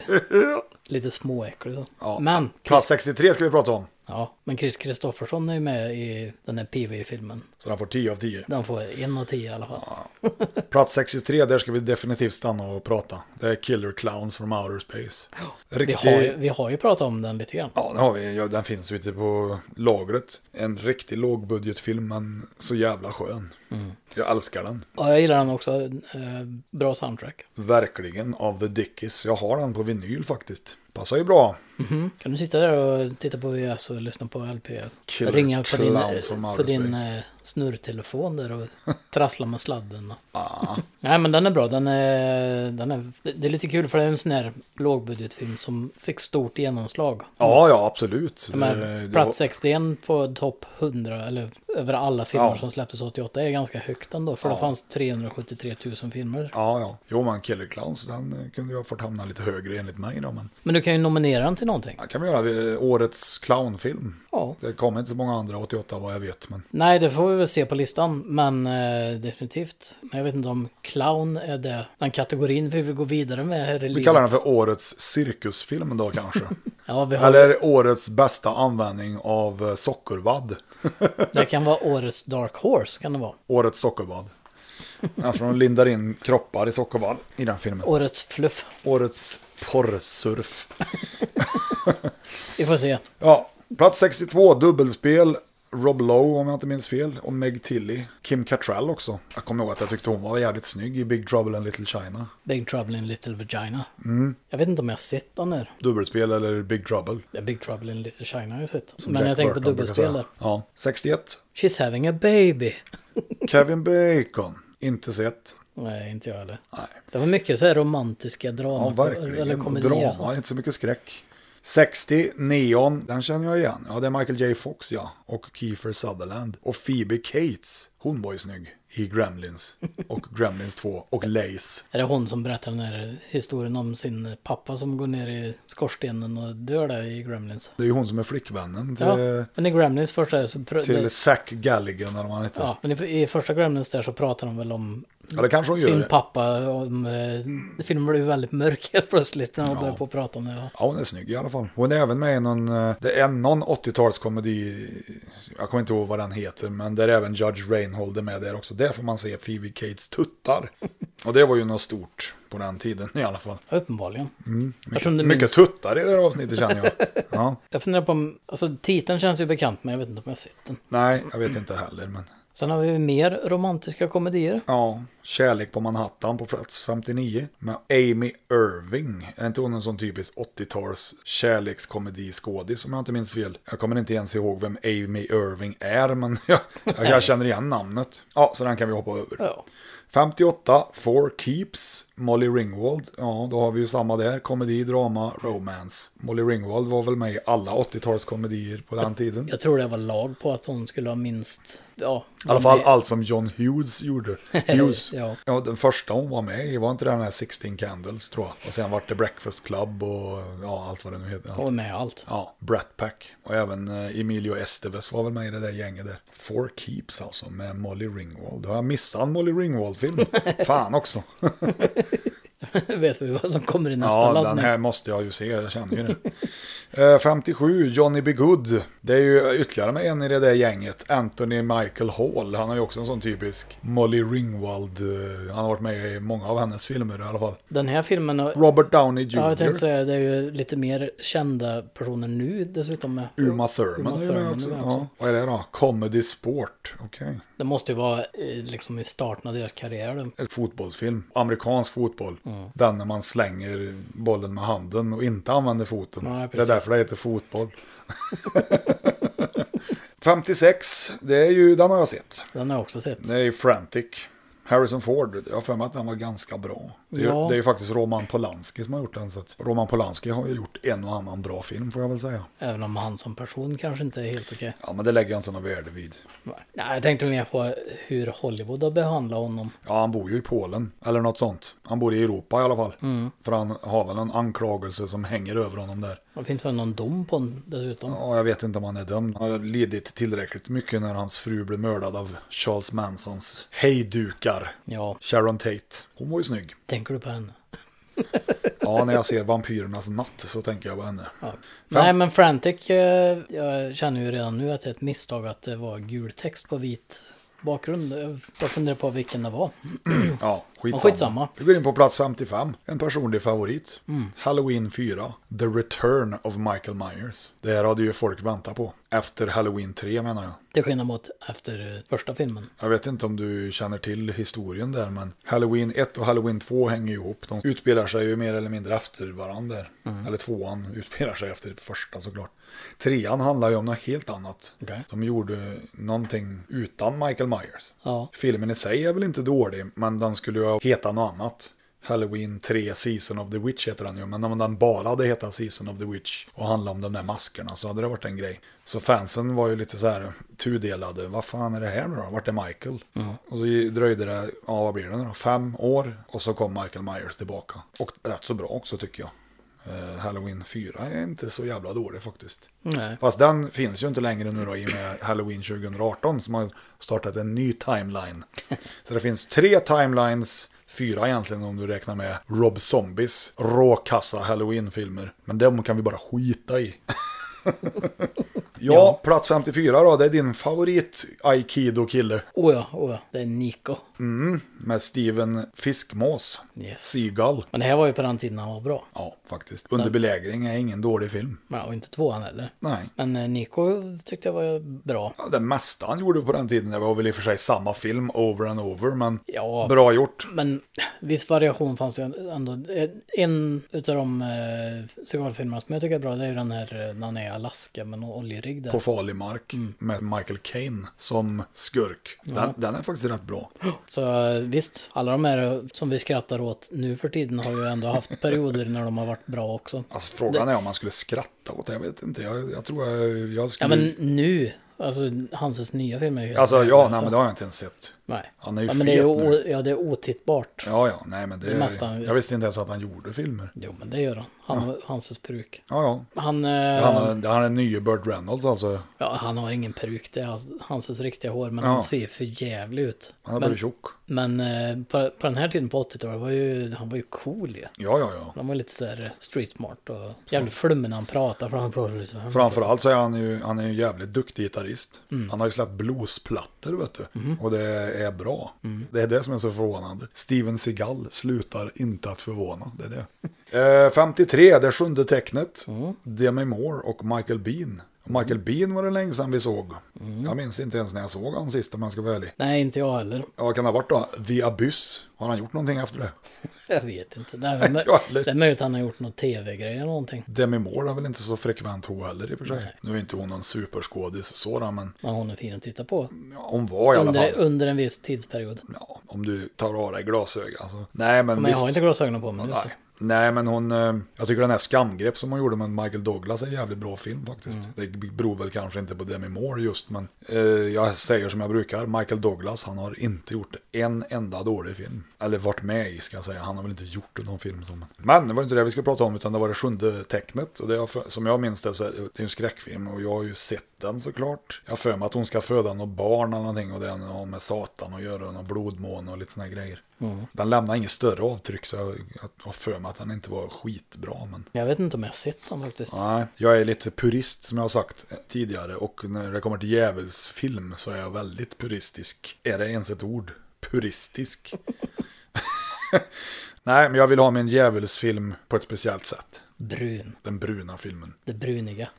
[SPEAKER 1] (laughs)
[SPEAKER 2] lite småäcklig då.
[SPEAKER 1] Ja.
[SPEAKER 2] Men,
[SPEAKER 1] Plats 63 ska vi prata om.
[SPEAKER 2] ja, men Chris Kristoffersson är ju med i den här Peewee-filmen.
[SPEAKER 1] Så den får 10 av 10.
[SPEAKER 2] Den får en av tio i alla fall.
[SPEAKER 1] Plats 63, där ska vi definitivt stanna och prata. Det är Killer Clowns from Outer Space.
[SPEAKER 2] vi,
[SPEAKER 1] Riktig...
[SPEAKER 2] har, ju- vi har ju pratat om den lite grann.
[SPEAKER 1] Ja, det har vi. Ja, den finns ju ute på lagret. En riktig lågbudgetfilm, men så jävla skön.
[SPEAKER 2] Mm.
[SPEAKER 1] Jag älskar den.
[SPEAKER 2] Och jag gillar den också. Eh, bra soundtrack.
[SPEAKER 1] Verkligen av The Dickies. Jag har den på vinyl faktiskt. Passar ju bra.
[SPEAKER 2] Kan du sitta där och titta på VHS och lyssna på LP?
[SPEAKER 1] Killer
[SPEAKER 2] Ringa på din,
[SPEAKER 1] Clowns from Outer
[SPEAKER 2] på din
[SPEAKER 1] Space.
[SPEAKER 2] eh, snurrtelefon där och trassla med sladden. Ah. Nej men den är bra, den är, den är, det är lite kul för det är en sån här lågbudgetfilm som fick stort genomslag.
[SPEAKER 1] Ja, ja, absolut.
[SPEAKER 2] De
[SPEAKER 1] Eh, Det-
[SPEAKER 2] här
[SPEAKER 1] det var-
[SPEAKER 2] plats 61 på topp 100 eller över alla filmer
[SPEAKER 1] Ja.
[SPEAKER 2] som släpptes 88 är ganska högt ändå för det fanns 373 000 filmer.
[SPEAKER 1] Ja, ja. Jo, men Killer Clowns, den eh, kunde jag fått hamna lite högre enligt mig då, men...
[SPEAKER 2] Men du kan ju nominera den till någonting.
[SPEAKER 1] Ja, kan vi göra. Det är Årets clownfilm.
[SPEAKER 2] Ja.
[SPEAKER 1] Det kommer inte så många andra 88 vad jag vet, men...
[SPEAKER 2] Nej, det får vi väl se på listan, men eh, definitivt. Men jag vet inte om clown är det, den kategorin vi vill gå vidare med här i
[SPEAKER 1] Vi
[SPEAKER 2] livet.
[SPEAKER 1] kallar den för Årets cirkusfilm då kanske.
[SPEAKER 2] Ja, vi har,
[SPEAKER 1] Eller Årets bästa användning av eh, sockervadd.
[SPEAKER 2] det kan vara årets Dark Horse, kan det vara.
[SPEAKER 1] Årets
[SPEAKER 2] (laughs)
[SPEAKER 1] sockervadd. Eftersom de lindar in kroppar i sockervadd i den filmen.
[SPEAKER 2] Årets fluff.
[SPEAKER 1] Årets porrsurf.
[SPEAKER 2] Vi får se.
[SPEAKER 1] Ja, plats 62, dubbelspel. Rob Lowe om jag inte minns fel. Och Meg Tilly. Kim Cattrall också. Jag kommer ihåg att jag tyckte hon var jävligt snygg i Big Trouble and Little China.
[SPEAKER 2] Big Trouble in Little Vagina.
[SPEAKER 1] Mm.
[SPEAKER 2] Jag vet inte om jag har sett den här.
[SPEAKER 1] Dubbelspel eller Big Trouble.
[SPEAKER 2] Det är Big Trouble in Little China har jag sett.
[SPEAKER 1] som
[SPEAKER 2] men
[SPEAKER 1] Jack
[SPEAKER 2] jag tänker på
[SPEAKER 1] Burton brukar
[SPEAKER 2] dubbelspel där.
[SPEAKER 1] säga. Ja, 61.
[SPEAKER 2] She's having a baby.
[SPEAKER 1] Kevin Bacon. Inte sett.
[SPEAKER 2] Nej, inte jag heller.
[SPEAKER 1] Nej.
[SPEAKER 2] Det var mycket så här romantiska
[SPEAKER 1] Ja,
[SPEAKER 2] draman. eller
[SPEAKER 1] verkligen. Och
[SPEAKER 2] komedier. och sånt.
[SPEAKER 1] Drama, inte så mycket skräck. 60, Neon, den känner jag igen. Ja, det är Michael J. Fox, ja. Och Kiefer Sutherland. Och Phoebe Cates. Hon var ju snygg. I
[SPEAKER 2] (laughs)
[SPEAKER 1] Gremlins. Och Gremlins 2. Och Lace.
[SPEAKER 2] Är det hon som berättar den här historien om sin pappa som går ner i skorstenen och dör där i Gremlins?
[SPEAKER 1] Det är ju hon som är flickvännen till,
[SPEAKER 2] Ja, men i Gremlins första så... Pr-
[SPEAKER 1] Eh, till
[SPEAKER 2] det,
[SPEAKER 1] Zack Galligan eller vad han heter. Ja.
[SPEAKER 2] ja, men i, i första Gremlins där så pratar de väl om
[SPEAKER 1] det kanske hon
[SPEAKER 2] sin
[SPEAKER 1] gör.
[SPEAKER 2] pappa. Om, eh, filmen blev väldigt mörk helt plötsligt när de
[SPEAKER 1] Ja.
[SPEAKER 2] började på att prata om det. Ja.
[SPEAKER 1] Ja, hon är snygg i alla fall. Hon är även med i någon, eh, det är någon 80-talskomedi, jag kommer inte ihåg vad den heter, men där är även Judge Reinhold är med där också. Där får man se Phoebe Cates tuttar. Och det var ju något stort på den tiden i alla fall.
[SPEAKER 2] Ja, Uppenbarligen. Eftersom det
[SPEAKER 1] Mm, Mycket
[SPEAKER 2] minns,
[SPEAKER 1] tuttar i det här avsnittet känner jag. Ja,
[SPEAKER 2] jag funderar på om... Alltså titeln känns ju bekant men jag vet inte om jag har sett den.
[SPEAKER 1] nej, jag vet inte heller, men
[SPEAKER 2] Sen har vi mer romantiska komedier.
[SPEAKER 1] ja. Kärlek på Manhattan på plats 59 med Amy Irving. Är inte hon en sån typisk 80-tals kärlekskomediskådis om jag inte minns fel? Jag kommer inte ens ihåg vem Amy Irving är, men (laughs) jag, jag, jag känner igen namnet. Ja, så den kan vi hoppa över.
[SPEAKER 2] Ja.
[SPEAKER 1] 58, Four Keeps, Molly Ringwald. Ja, då har vi ju samma där. Komedi, drama, romance. Molly Ringwald var väl med i alla 80-talskomedier på den tiden.
[SPEAKER 2] Jag tror det var lag på att hon skulle ha minst... Ja.
[SPEAKER 1] I alla fall allt som John Hughes
[SPEAKER 2] (laughs)
[SPEAKER 1] gjorde. Hughes.
[SPEAKER 2] Ja.
[SPEAKER 1] ja. den första hon var med i var inte den här 16 Candles tror jag. Och sen vart det Breakfast Club och ja, allt vad det nu heter.
[SPEAKER 2] Hon var med i allt. (laughs)
[SPEAKER 1] Ja, Brat Pack. Och även eh, Emilio Estevez var väl med i det där gänget där. Four Keeps alltså, med Molly Ringwald. Har jag missat en Molly
[SPEAKER 2] (laughs)
[SPEAKER 1] Ringwald-film? Fan också.
[SPEAKER 2] vet vi vad som kommer i nästa
[SPEAKER 1] Ja, den
[SPEAKER 2] laddning.
[SPEAKER 1] här måste jag ju se, jag känner ju det. Eh, 57, Johnny B. Good. Det är ju ytterligare med en i det där gänget, Anthony Michael Hall. Han är ju också en sån typisk Molly Ringwald. eh, Han har varit med i många av hennes filmer i alla fall.
[SPEAKER 2] Den här filmen, har-
[SPEAKER 1] Robert Downey Jr.
[SPEAKER 2] ja, jag tänkte säga, det är ju lite mer kända personer nu dessutom. Med.
[SPEAKER 1] Uma Thurman är ju med också.
[SPEAKER 2] är med
[SPEAKER 1] Ja. Vad är det då? Comedy Sport. Okej.
[SPEAKER 2] Det måste ju vara eh, liksom i starten av deras karriär. då.
[SPEAKER 1] En fotbollsfilm. Amerikansk fotboll. Den när man slänger bollen med handen och inte använder foten.
[SPEAKER 2] Ja,
[SPEAKER 1] det är
[SPEAKER 2] precis.
[SPEAKER 1] därför det heter fotboll. (laughs) 56, det är ju, den har jag sett.
[SPEAKER 2] Den har jag också sett.
[SPEAKER 1] Det är ju Frantic. Harrison Ford, jag har för mig att den var ganska bra. Det är, ju-
[SPEAKER 2] Ja.
[SPEAKER 1] det är ju faktiskt Roman Polanski som har gjort den. Så att Roman Polanski har ju gjort en och annan bra film får jag väl säga.
[SPEAKER 2] Även om han som person kanske inte är helt okej.
[SPEAKER 1] Ja, men det lägger jag inte något värde vid.
[SPEAKER 2] Nej, jag tänkte mer på hur Hollywood har behandlat honom.
[SPEAKER 1] Ja, han bor ju i Polen, eller något sånt. Han bor i Europa i alla fall. För han har väl en anklagelse som hänger över honom där.
[SPEAKER 2] Det finns väl någon dom på honom dessutom.
[SPEAKER 1] Ja, jag vet inte om han är dömd. Han har lidit tillräckligt mycket när hans fru blev mördad av Charles Mansons hejdukar.
[SPEAKER 2] Ja,
[SPEAKER 1] Sharon Tate. Hon var ju snygg.
[SPEAKER 2] tänker du på henne?
[SPEAKER 1] Ja, när jag ser Vampyrernas natt så tänker jag på henne.
[SPEAKER 2] Nej, men Frantic, eh, jag känner ju redan nu att det är ett misstag att det var gul text på vit bakgrund. Jag funderar på vilken det var.
[SPEAKER 1] Ja, Skitsamma.
[SPEAKER 2] skitsamma.
[SPEAKER 1] Vi går in på plats 55. En personlig favorit. Halloween 4. The Return of Michael Myers. Det här hade ju folk väntat på. Efter Halloween 3 menar jag.
[SPEAKER 2] Till skillnad mot efter eh, första filmen.
[SPEAKER 1] Jag vet inte om du känner till historien där men Halloween 1 och Halloween 2 hänger ju ihop. De utspelar sig ju mer eller mindre efter varandra. där. Eller tvåan utspelar sig efter första såklart. Trean handlar ju om något helt annat.
[SPEAKER 2] Okej.
[SPEAKER 1] De gjorde någonting utan Michael Myers.
[SPEAKER 2] Ja.
[SPEAKER 1] Filmen i sig är väl inte dålig, men den skulle ju heta något annat. Halloween 3 Season of the Witch heter den ju, men om den bara hade hetat Season of the Witch och handla om de där maskerna så hade det varit en grej. Så fansen var ju lite så här tudelade, vad fan är det här nu då? Vart är Michael? Och då dröjde det, ja vad blir det nu då? Fem år och så kom Michael Myers tillbaka. Och rätt så bra också tycker jag. Eh, Halloween 4 är inte så jävla dålig faktiskt.
[SPEAKER 2] Nej.
[SPEAKER 1] Fast den finns ju inte längre nu då i och med Halloween 2018 som har startat en ny timeline. Så det finns tre timelines, fyra egentligen om du räknar med Rob Zombies råkassa Halloween-filmer. Men de kan vi bara skita i. (laughs) ja,
[SPEAKER 2] Ja.
[SPEAKER 1] plats 54 då, det är din favorit Aikido-kille
[SPEAKER 2] Oh ja, oh ja. Det är Nico.
[SPEAKER 1] med Steven Fiskmås,
[SPEAKER 2] Yes.
[SPEAKER 1] Seagull.
[SPEAKER 2] Men det här var ju på den tiden han var bra.
[SPEAKER 1] Ja, faktiskt. Under belägring är ingen dålig film.
[SPEAKER 2] Ja, och inte tvåan heller.
[SPEAKER 1] Nej.
[SPEAKER 2] Men eh, Nico tyckte jag var bra.
[SPEAKER 1] Ja, det mesta han gjorde på den tiden det var väl i och för sig samma film over and over, men
[SPEAKER 2] Ja.
[SPEAKER 1] bra gjort.
[SPEAKER 2] Men viss variation fanns ju ändå. En utav de eh, cigarrfilmerna som jag tycker är bra, det är ju den här eh, när han är i Alaska med någon oljerigg där.
[SPEAKER 1] På farlig mark med Michael Caine som skurk. Den, den är faktiskt rätt bra.
[SPEAKER 2] Så eh, visst, alla de här eh, som vi skrattar åt nu för tiden har ju
[SPEAKER 1] (laughs)
[SPEAKER 2] ändå haft perioder när de har varit bra också.
[SPEAKER 1] Alltså, frågan är om man skulle skratta åt det. Jag vet inte. Jag, jag tror jag, jag
[SPEAKER 2] Ja
[SPEAKER 1] skulle...
[SPEAKER 2] men nu, alltså Hanses nya film är ju helt
[SPEAKER 1] Mm. alltså,
[SPEAKER 2] värdelös,
[SPEAKER 1] ja, nej,
[SPEAKER 2] så-
[SPEAKER 1] men det har jag inte ens sett.
[SPEAKER 2] Nej.
[SPEAKER 1] Han är ju
[SPEAKER 2] ja, men det är
[SPEAKER 1] fet
[SPEAKER 2] o-
[SPEAKER 1] nu.
[SPEAKER 2] Ja, det är otittbart.
[SPEAKER 1] Ja, ja, nej, men det...
[SPEAKER 2] Det mesta han-
[SPEAKER 1] jag visste inte ens att han gjorde filmer.
[SPEAKER 2] Jo, men det gör han. han Hanses peruk.
[SPEAKER 1] Ja, ja.
[SPEAKER 2] Han, eh,
[SPEAKER 1] Han, är- han är nye Burt Reynolds alltså.
[SPEAKER 2] ja, han har ingen peruk, det är hans- Hanses riktiga hår, men
[SPEAKER 1] Ja.
[SPEAKER 2] han ser för jävlig ut.
[SPEAKER 1] Han har
[SPEAKER 2] Men,
[SPEAKER 1] blivit tjock.
[SPEAKER 2] men eh, på, på den här tiden på 80-talet var ju, han var ju cool ju.
[SPEAKER 1] Ja, ja, ja.
[SPEAKER 2] Han var lite så här eh, street smart och jävligt flummig när han pratade, för han pratade liksom- lite så här.
[SPEAKER 1] Framförallt så är han ju, han är ju en jävligt duktig gitarrist. Han har ju släppt bluesplattor vet du. Och det är bra. Det är det som är så förvånande. Steven Seagal slutar inte att förvåna. Det är det. eh, 53, det sjunde tecknet. Demi Moore och Michael Bean. Michael Bean var det länge sedan vi såg. Jag minns inte ens när jag såg honom sist om jag ska vara ärlig.
[SPEAKER 2] Nej, inte jag heller.
[SPEAKER 1] Ja, Vad kan det ha varit då? The Abyss? Har han gjort någonting efter det?
[SPEAKER 2] Jag vet inte.
[SPEAKER 1] (laughs)
[SPEAKER 2] Det är,
[SPEAKER 1] jag heller.
[SPEAKER 2] det är möjligt att han har gjort någon tv-grej eller någonting.
[SPEAKER 1] Demi Moore har väl inte så frekvent hår heller i och för sig. Nu är inte hon någon superskådis sådan, men
[SPEAKER 2] Men hon är fin att titta på.
[SPEAKER 1] ja, hon var i alla fall.
[SPEAKER 2] Under, under en viss tidsperiod.
[SPEAKER 1] Ja, om du tar av dig glasögon. Alltså. Nej, men,
[SPEAKER 2] Men
[SPEAKER 1] visst.
[SPEAKER 2] jag har inte alltså. glasögonen på mig nu. så.
[SPEAKER 1] Nej. Nej, men hon... eh, Jag tycker den här skamgrepp som hon gjorde med Michael Douglas är en jävligt bra film faktiskt.
[SPEAKER 2] Mm.
[SPEAKER 1] Det beror väl kanske inte på Demi Moore just, men eh, jag säger som jag brukar. Michael Douglas, han har inte gjort en enda dålig film. Eller varit med i, ska jag säga. Han har väl inte gjort någon film som... Men det var inte det vi ska prata om, utan det var det sjunde tecknet. Och det jag, för- som jag minns det så är det är ju en skräckfilm och jag har ju sett den såklart. Jag har för mig att hon ska föda något barn eller någonting och det har med Satan att göra, och någon blodmåne och lite sådana grejer. Den lämnar inget större avtryck så jag, jag har för mig att den inte var skitbra. Men...
[SPEAKER 2] Jag vet inte om jag har sett den faktiskt.
[SPEAKER 1] Nej, jag är lite purist som jag har sagt eh, tidigare och när det kommer till djävulsfilm så är jag väldigt puristisk. Är det ens ett ord? Puristisk. (laughs) Nej, men jag vill ha min djävulsfilm på ett speciellt sätt.
[SPEAKER 2] Brun.
[SPEAKER 1] Den bruna filmen.
[SPEAKER 2] Det bruniga.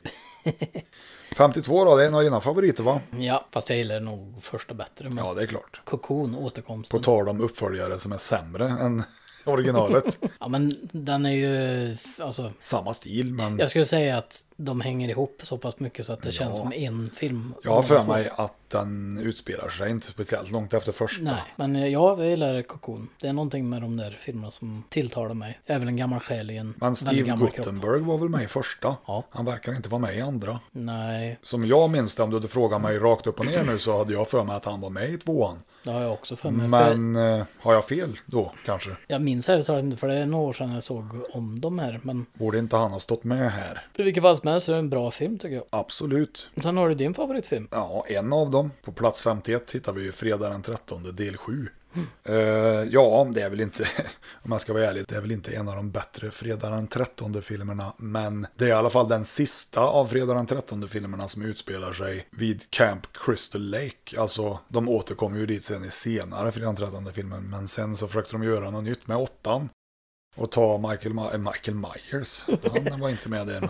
[SPEAKER 1] 52 då, det är en av dina favoriter va?
[SPEAKER 2] Ja, fast jag gillar nog första bättre. Men
[SPEAKER 1] Ja, det är klart.
[SPEAKER 2] Cocoon,
[SPEAKER 1] På
[SPEAKER 2] återkomsten.
[SPEAKER 1] tal om uppföljare som är sämre än originalet.
[SPEAKER 2] (laughs) Ja, men den är ju... Alltså,
[SPEAKER 1] Samma stil, men...
[SPEAKER 2] jag skulle säga att de hänger ihop så pass mycket så att det känns som en film.
[SPEAKER 1] Jag har för
[SPEAKER 2] Två.
[SPEAKER 1] mig att den utspelar sig inte speciellt långt efter första.
[SPEAKER 2] Nej, men eh, ja, jag gillar Cocoon. Det är någonting med de där filmerna som tilltalar mig. Även en gammal själ i en
[SPEAKER 1] Men Steve
[SPEAKER 2] kropp.
[SPEAKER 1] Guttenberg var väl med i första?
[SPEAKER 2] Ja.
[SPEAKER 1] Han verkar inte vara med i andra.
[SPEAKER 2] Nej,
[SPEAKER 1] Som jag minns det, om du hade frågat mig rakt upp och ner nu så hade jag för mig att han var med i tvåan.
[SPEAKER 2] det har jag också för mig. För
[SPEAKER 1] Men eh, har jag fel då kanske?
[SPEAKER 2] jag minns ärligt talat inte, för det är några år sedan jag såg om de här. Men
[SPEAKER 1] Borde inte han ha stått med här?
[SPEAKER 2] i vilket fall som helst så är det en bra film tycker jag.
[SPEAKER 1] Absolut.
[SPEAKER 2] Sen har du din favoritfilm.
[SPEAKER 1] Ja, en av dem. På plats 51 hittar vi ju Fredag den 13 del 7. Eh, ja, det är väl inte, (laughs) om man ska vara ärlig, det är väl inte en av de bättre Fredag den 13-filmerna. Men det är i alla fall den sista av Fredag den 13-filmerna som utspelar sig vid Camp Crystal Lake. Alltså, de återkommer ju dit sen i senare Fredag den 13-filmen. Men sen så försökte de göra något nytt med åttan. Och ta Michael, Ma- eh, Michael Myers. Han var inte med där. Men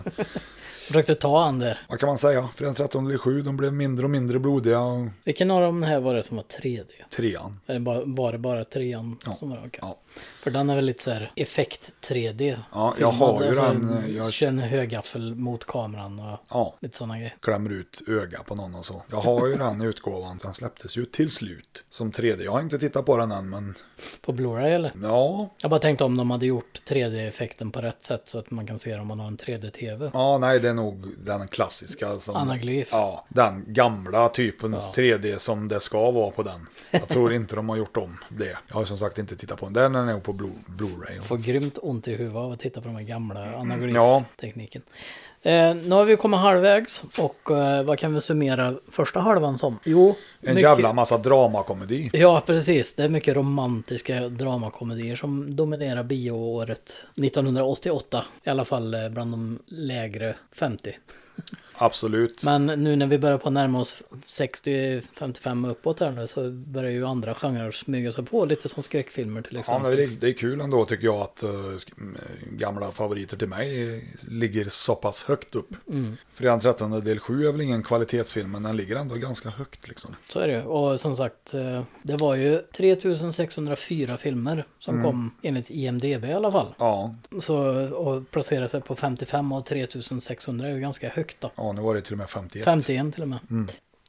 [SPEAKER 2] Försökte ta han där.
[SPEAKER 1] vad kan man säga? Fredag den 13 eller 7, de blev mindre och mindre blodiga. Och
[SPEAKER 2] Vilken av de här var det som var 3D?
[SPEAKER 1] trean.
[SPEAKER 2] Eller bara- var det bara trean
[SPEAKER 1] Ja.
[SPEAKER 2] som var okej?
[SPEAKER 1] Ja.
[SPEAKER 2] För den är väl lite så här effekt 3D.
[SPEAKER 1] Ja, jag
[SPEAKER 2] filmad,
[SPEAKER 1] har ju
[SPEAKER 2] alltså,
[SPEAKER 1] den, eh, jag-
[SPEAKER 2] Känner högaffel mot kameran och
[SPEAKER 1] Ja,
[SPEAKER 2] lite sådana grejer.
[SPEAKER 1] klämmer ut öga på någon och så. Jag har ju den utgåvan, den släpptes ju till slut som 3D. Jag har inte tittat på den än, men
[SPEAKER 2] På Blu-ray eller?
[SPEAKER 1] ja.
[SPEAKER 2] Jag bara tänkte om de hade gjort 3D-effekten på rätt sätt så att man kan se det om man har en 3D-TV.
[SPEAKER 1] Ja, nej, det är nog den klassiska. Som,
[SPEAKER 2] Anaglyf.
[SPEAKER 1] Ja, den gamla typens 3D som det ska vara på den. Jag tror inte de har gjort om det. Jag har som sagt inte tittat på den. Den är nog på Blu- Blu-ray.
[SPEAKER 2] Får grymt ont i huvudet av att titta på de här gamla
[SPEAKER 1] Ja.
[SPEAKER 2] anaglyf-tekniken. Eh, nu har vi kommit halvvägs och eh, vad kan vi summera första halvan som? Jo,
[SPEAKER 1] En jävla massa dramakomedi.
[SPEAKER 2] Ja, precis. Det är mycket romantiska dramakomedier som dominerar bioåret 1988. I alla fall eh, bland de lägre 50.
[SPEAKER 1] Absolut.
[SPEAKER 2] Men nu när vi börjar på att närma oss 60-55 uppåt här nu så börjar ju andra genrer smyga sig på. Lite som skräckfilmer till
[SPEAKER 1] Ja, men
[SPEAKER 2] exempel.
[SPEAKER 1] det, är, det är kul ändå tycker jag att eh, sk- m, eh, gamla favoriter till mig eh, ligger så pass högt upp. Fredagen 13 del 7 är väl ingen kvalitetsfilm men den ligger ändå ganska högt liksom.
[SPEAKER 2] Så är det ju. Och som sagt, eh, det var ju 3604 filmer som
[SPEAKER 1] Mm.
[SPEAKER 2] kom enligt IMDB i alla fall.
[SPEAKER 1] Ja,
[SPEAKER 2] Så att placera sig på 55 av 3600 är ju ganska högt då.
[SPEAKER 1] ja nu var det till och med 51.
[SPEAKER 2] 51 till och med.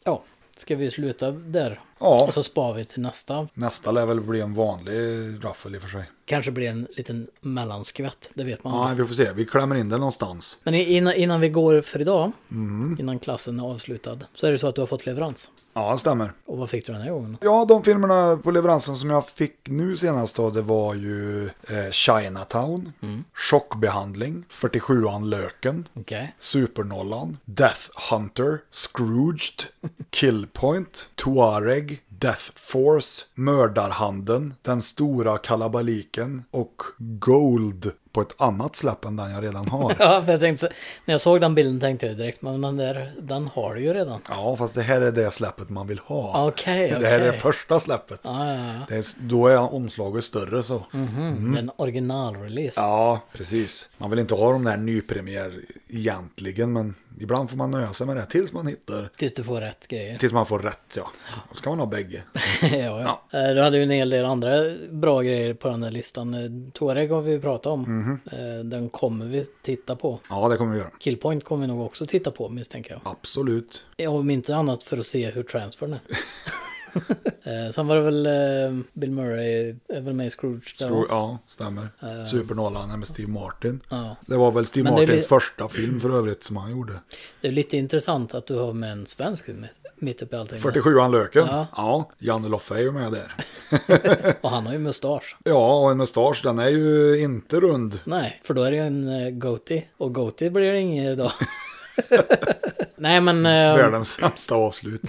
[SPEAKER 2] Ja, ska vi sluta där?
[SPEAKER 1] Mm. Ja,
[SPEAKER 2] Och så spar vi till nästa.
[SPEAKER 1] nästa lär väl bli en vanlig raffel i och för sig.
[SPEAKER 2] Kanske blir en liten mellanskvätt, det vet man
[SPEAKER 1] Ja,
[SPEAKER 2] aldrig.
[SPEAKER 1] vi får se. Vi klämmer in den någonstans.
[SPEAKER 2] Men i- innan, innan vi går för idag,
[SPEAKER 1] Mm.
[SPEAKER 2] innan klassen är avslutad, så är det så att du har fått leverans.
[SPEAKER 1] Ja, det stämmer.
[SPEAKER 2] Och vad fick du den här gången?
[SPEAKER 1] Ja, de filmerna på leveransen som jag fick nu senast då, det var ju eh, Chinatown, Chockbehandling, 47an Löken,
[SPEAKER 2] Okej. (laughs)
[SPEAKER 1] Supernollan, Death Hunter, Scrooged, Killpoint, Tuareg, Death Force, Mördarhanden, Den Stora Kalabaliken och Gold på ett annat släpp än den jag redan
[SPEAKER 2] (laughs)
[SPEAKER 1] har.
[SPEAKER 2] Ja, för jag tänkte, så- när jag såg den bilden tänkte jag direkt, men den där, den har du ju redan.
[SPEAKER 1] Ja, fast det här är det släppet man vill ha.
[SPEAKER 2] Okej, okej.
[SPEAKER 1] Det här är det första släppet.
[SPEAKER 2] Ja, ja, ja.
[SPEAKER 1] Det är, då är omslaget större så.
[SPEAKER 2] Mm. Ah, Det är en originalrelease.
[SPEAKER 1] Ja, precis. Man vill inte ha de där nypremiär egentligen, men ibland får man nöja sig med det tills man hittar,
[SPEAKER 2] Tills du får rätt grejer.
[SPEAKER 1] tills man får rätt ja. Och så kan man ha bägge.
[SPEAKER 2] (laughs) ja, ja. Eh, Du hade ju en hel del andra bra grejer på den där listan. Eh, Touareg har vi ju pratat om. Eh, Den kommer vi titta på.
[SPEAKER 1] Ja, det kommer vi göra.
[SPEAKER 2] Killpoint kommer vi nog också titta på misstänker jag.
[SPEAKER 1] Absolut.
[SPEAKER 2] Ja, Om inte annat för att se hur transfern (laughs) är. Eh, Sen var det väl eh, Bill Murray, är väl med i Scrooge där
[SPEAKER 1] Tror,
[SPEAKER 2] va?
[SPEAKER 1] ja, stämmer. Supernollan med Steve Martin.
[SPEAKER 2] Eh. Ja.
[SPEAKER 1] Det var väl Steve
[SPEAKER 2] Men det
[SPEAKER 1] Martins
[SPEAKER 2] blir-
[SPEAKER 1] första film för övrigt som han gjorde.
[SPEAKER 2] Det är lite intressant att du har med en svensk film mitt uppe i allting.
[SPEAKER 1] 47an Löken.
[SPEAKER 2] Ja.
[SPEAKER 1] Ja. Janne Loffe är ju med där.
[SPEAKER 2] Och han har ju mustasch.
[SPEAKER 1] Ja, och en mustasch, den är ju inte rund.
[SPEAKER 2] Nej, för då är det ju en eh, goatee. Och goatee blir det inget (laughs) idag. Nej men... eh,
[SPEAKER 1] Världens sämsta avslut.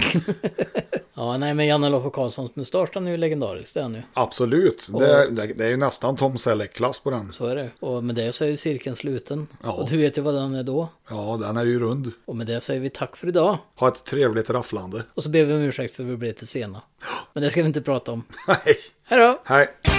[SPEAKER 2] Ja, nej men Janne Loffe Karlssons mustasch den är ju legendarisk det är nu.
[SPEAKER 1] Absolut. Det, är- det, det är ju nästan Tom Selleck-klass på den.
[SPEAKER 2] Så är det. Och med det så är ju cirkeln sluten.
[SPEAKER 1] Ja.
[SPEAKER 2] Och du vet ju vad den är då.
[SPEAKER 1] Ja, den är ju rund.
[SPEAKER 2] Och med det säger vi tack för idag.
[SPEAKER 1] Ha ett trevligt rafflande. (laughs)
[SPEAKER 2] Och så ber vi om ursäkt för att vi blev lite sena. Men det ska vi inte prata om.
[SPEAKER 1] Nej,
[SPEAKER 2] Hej då!
[SPEAKER 1] hej.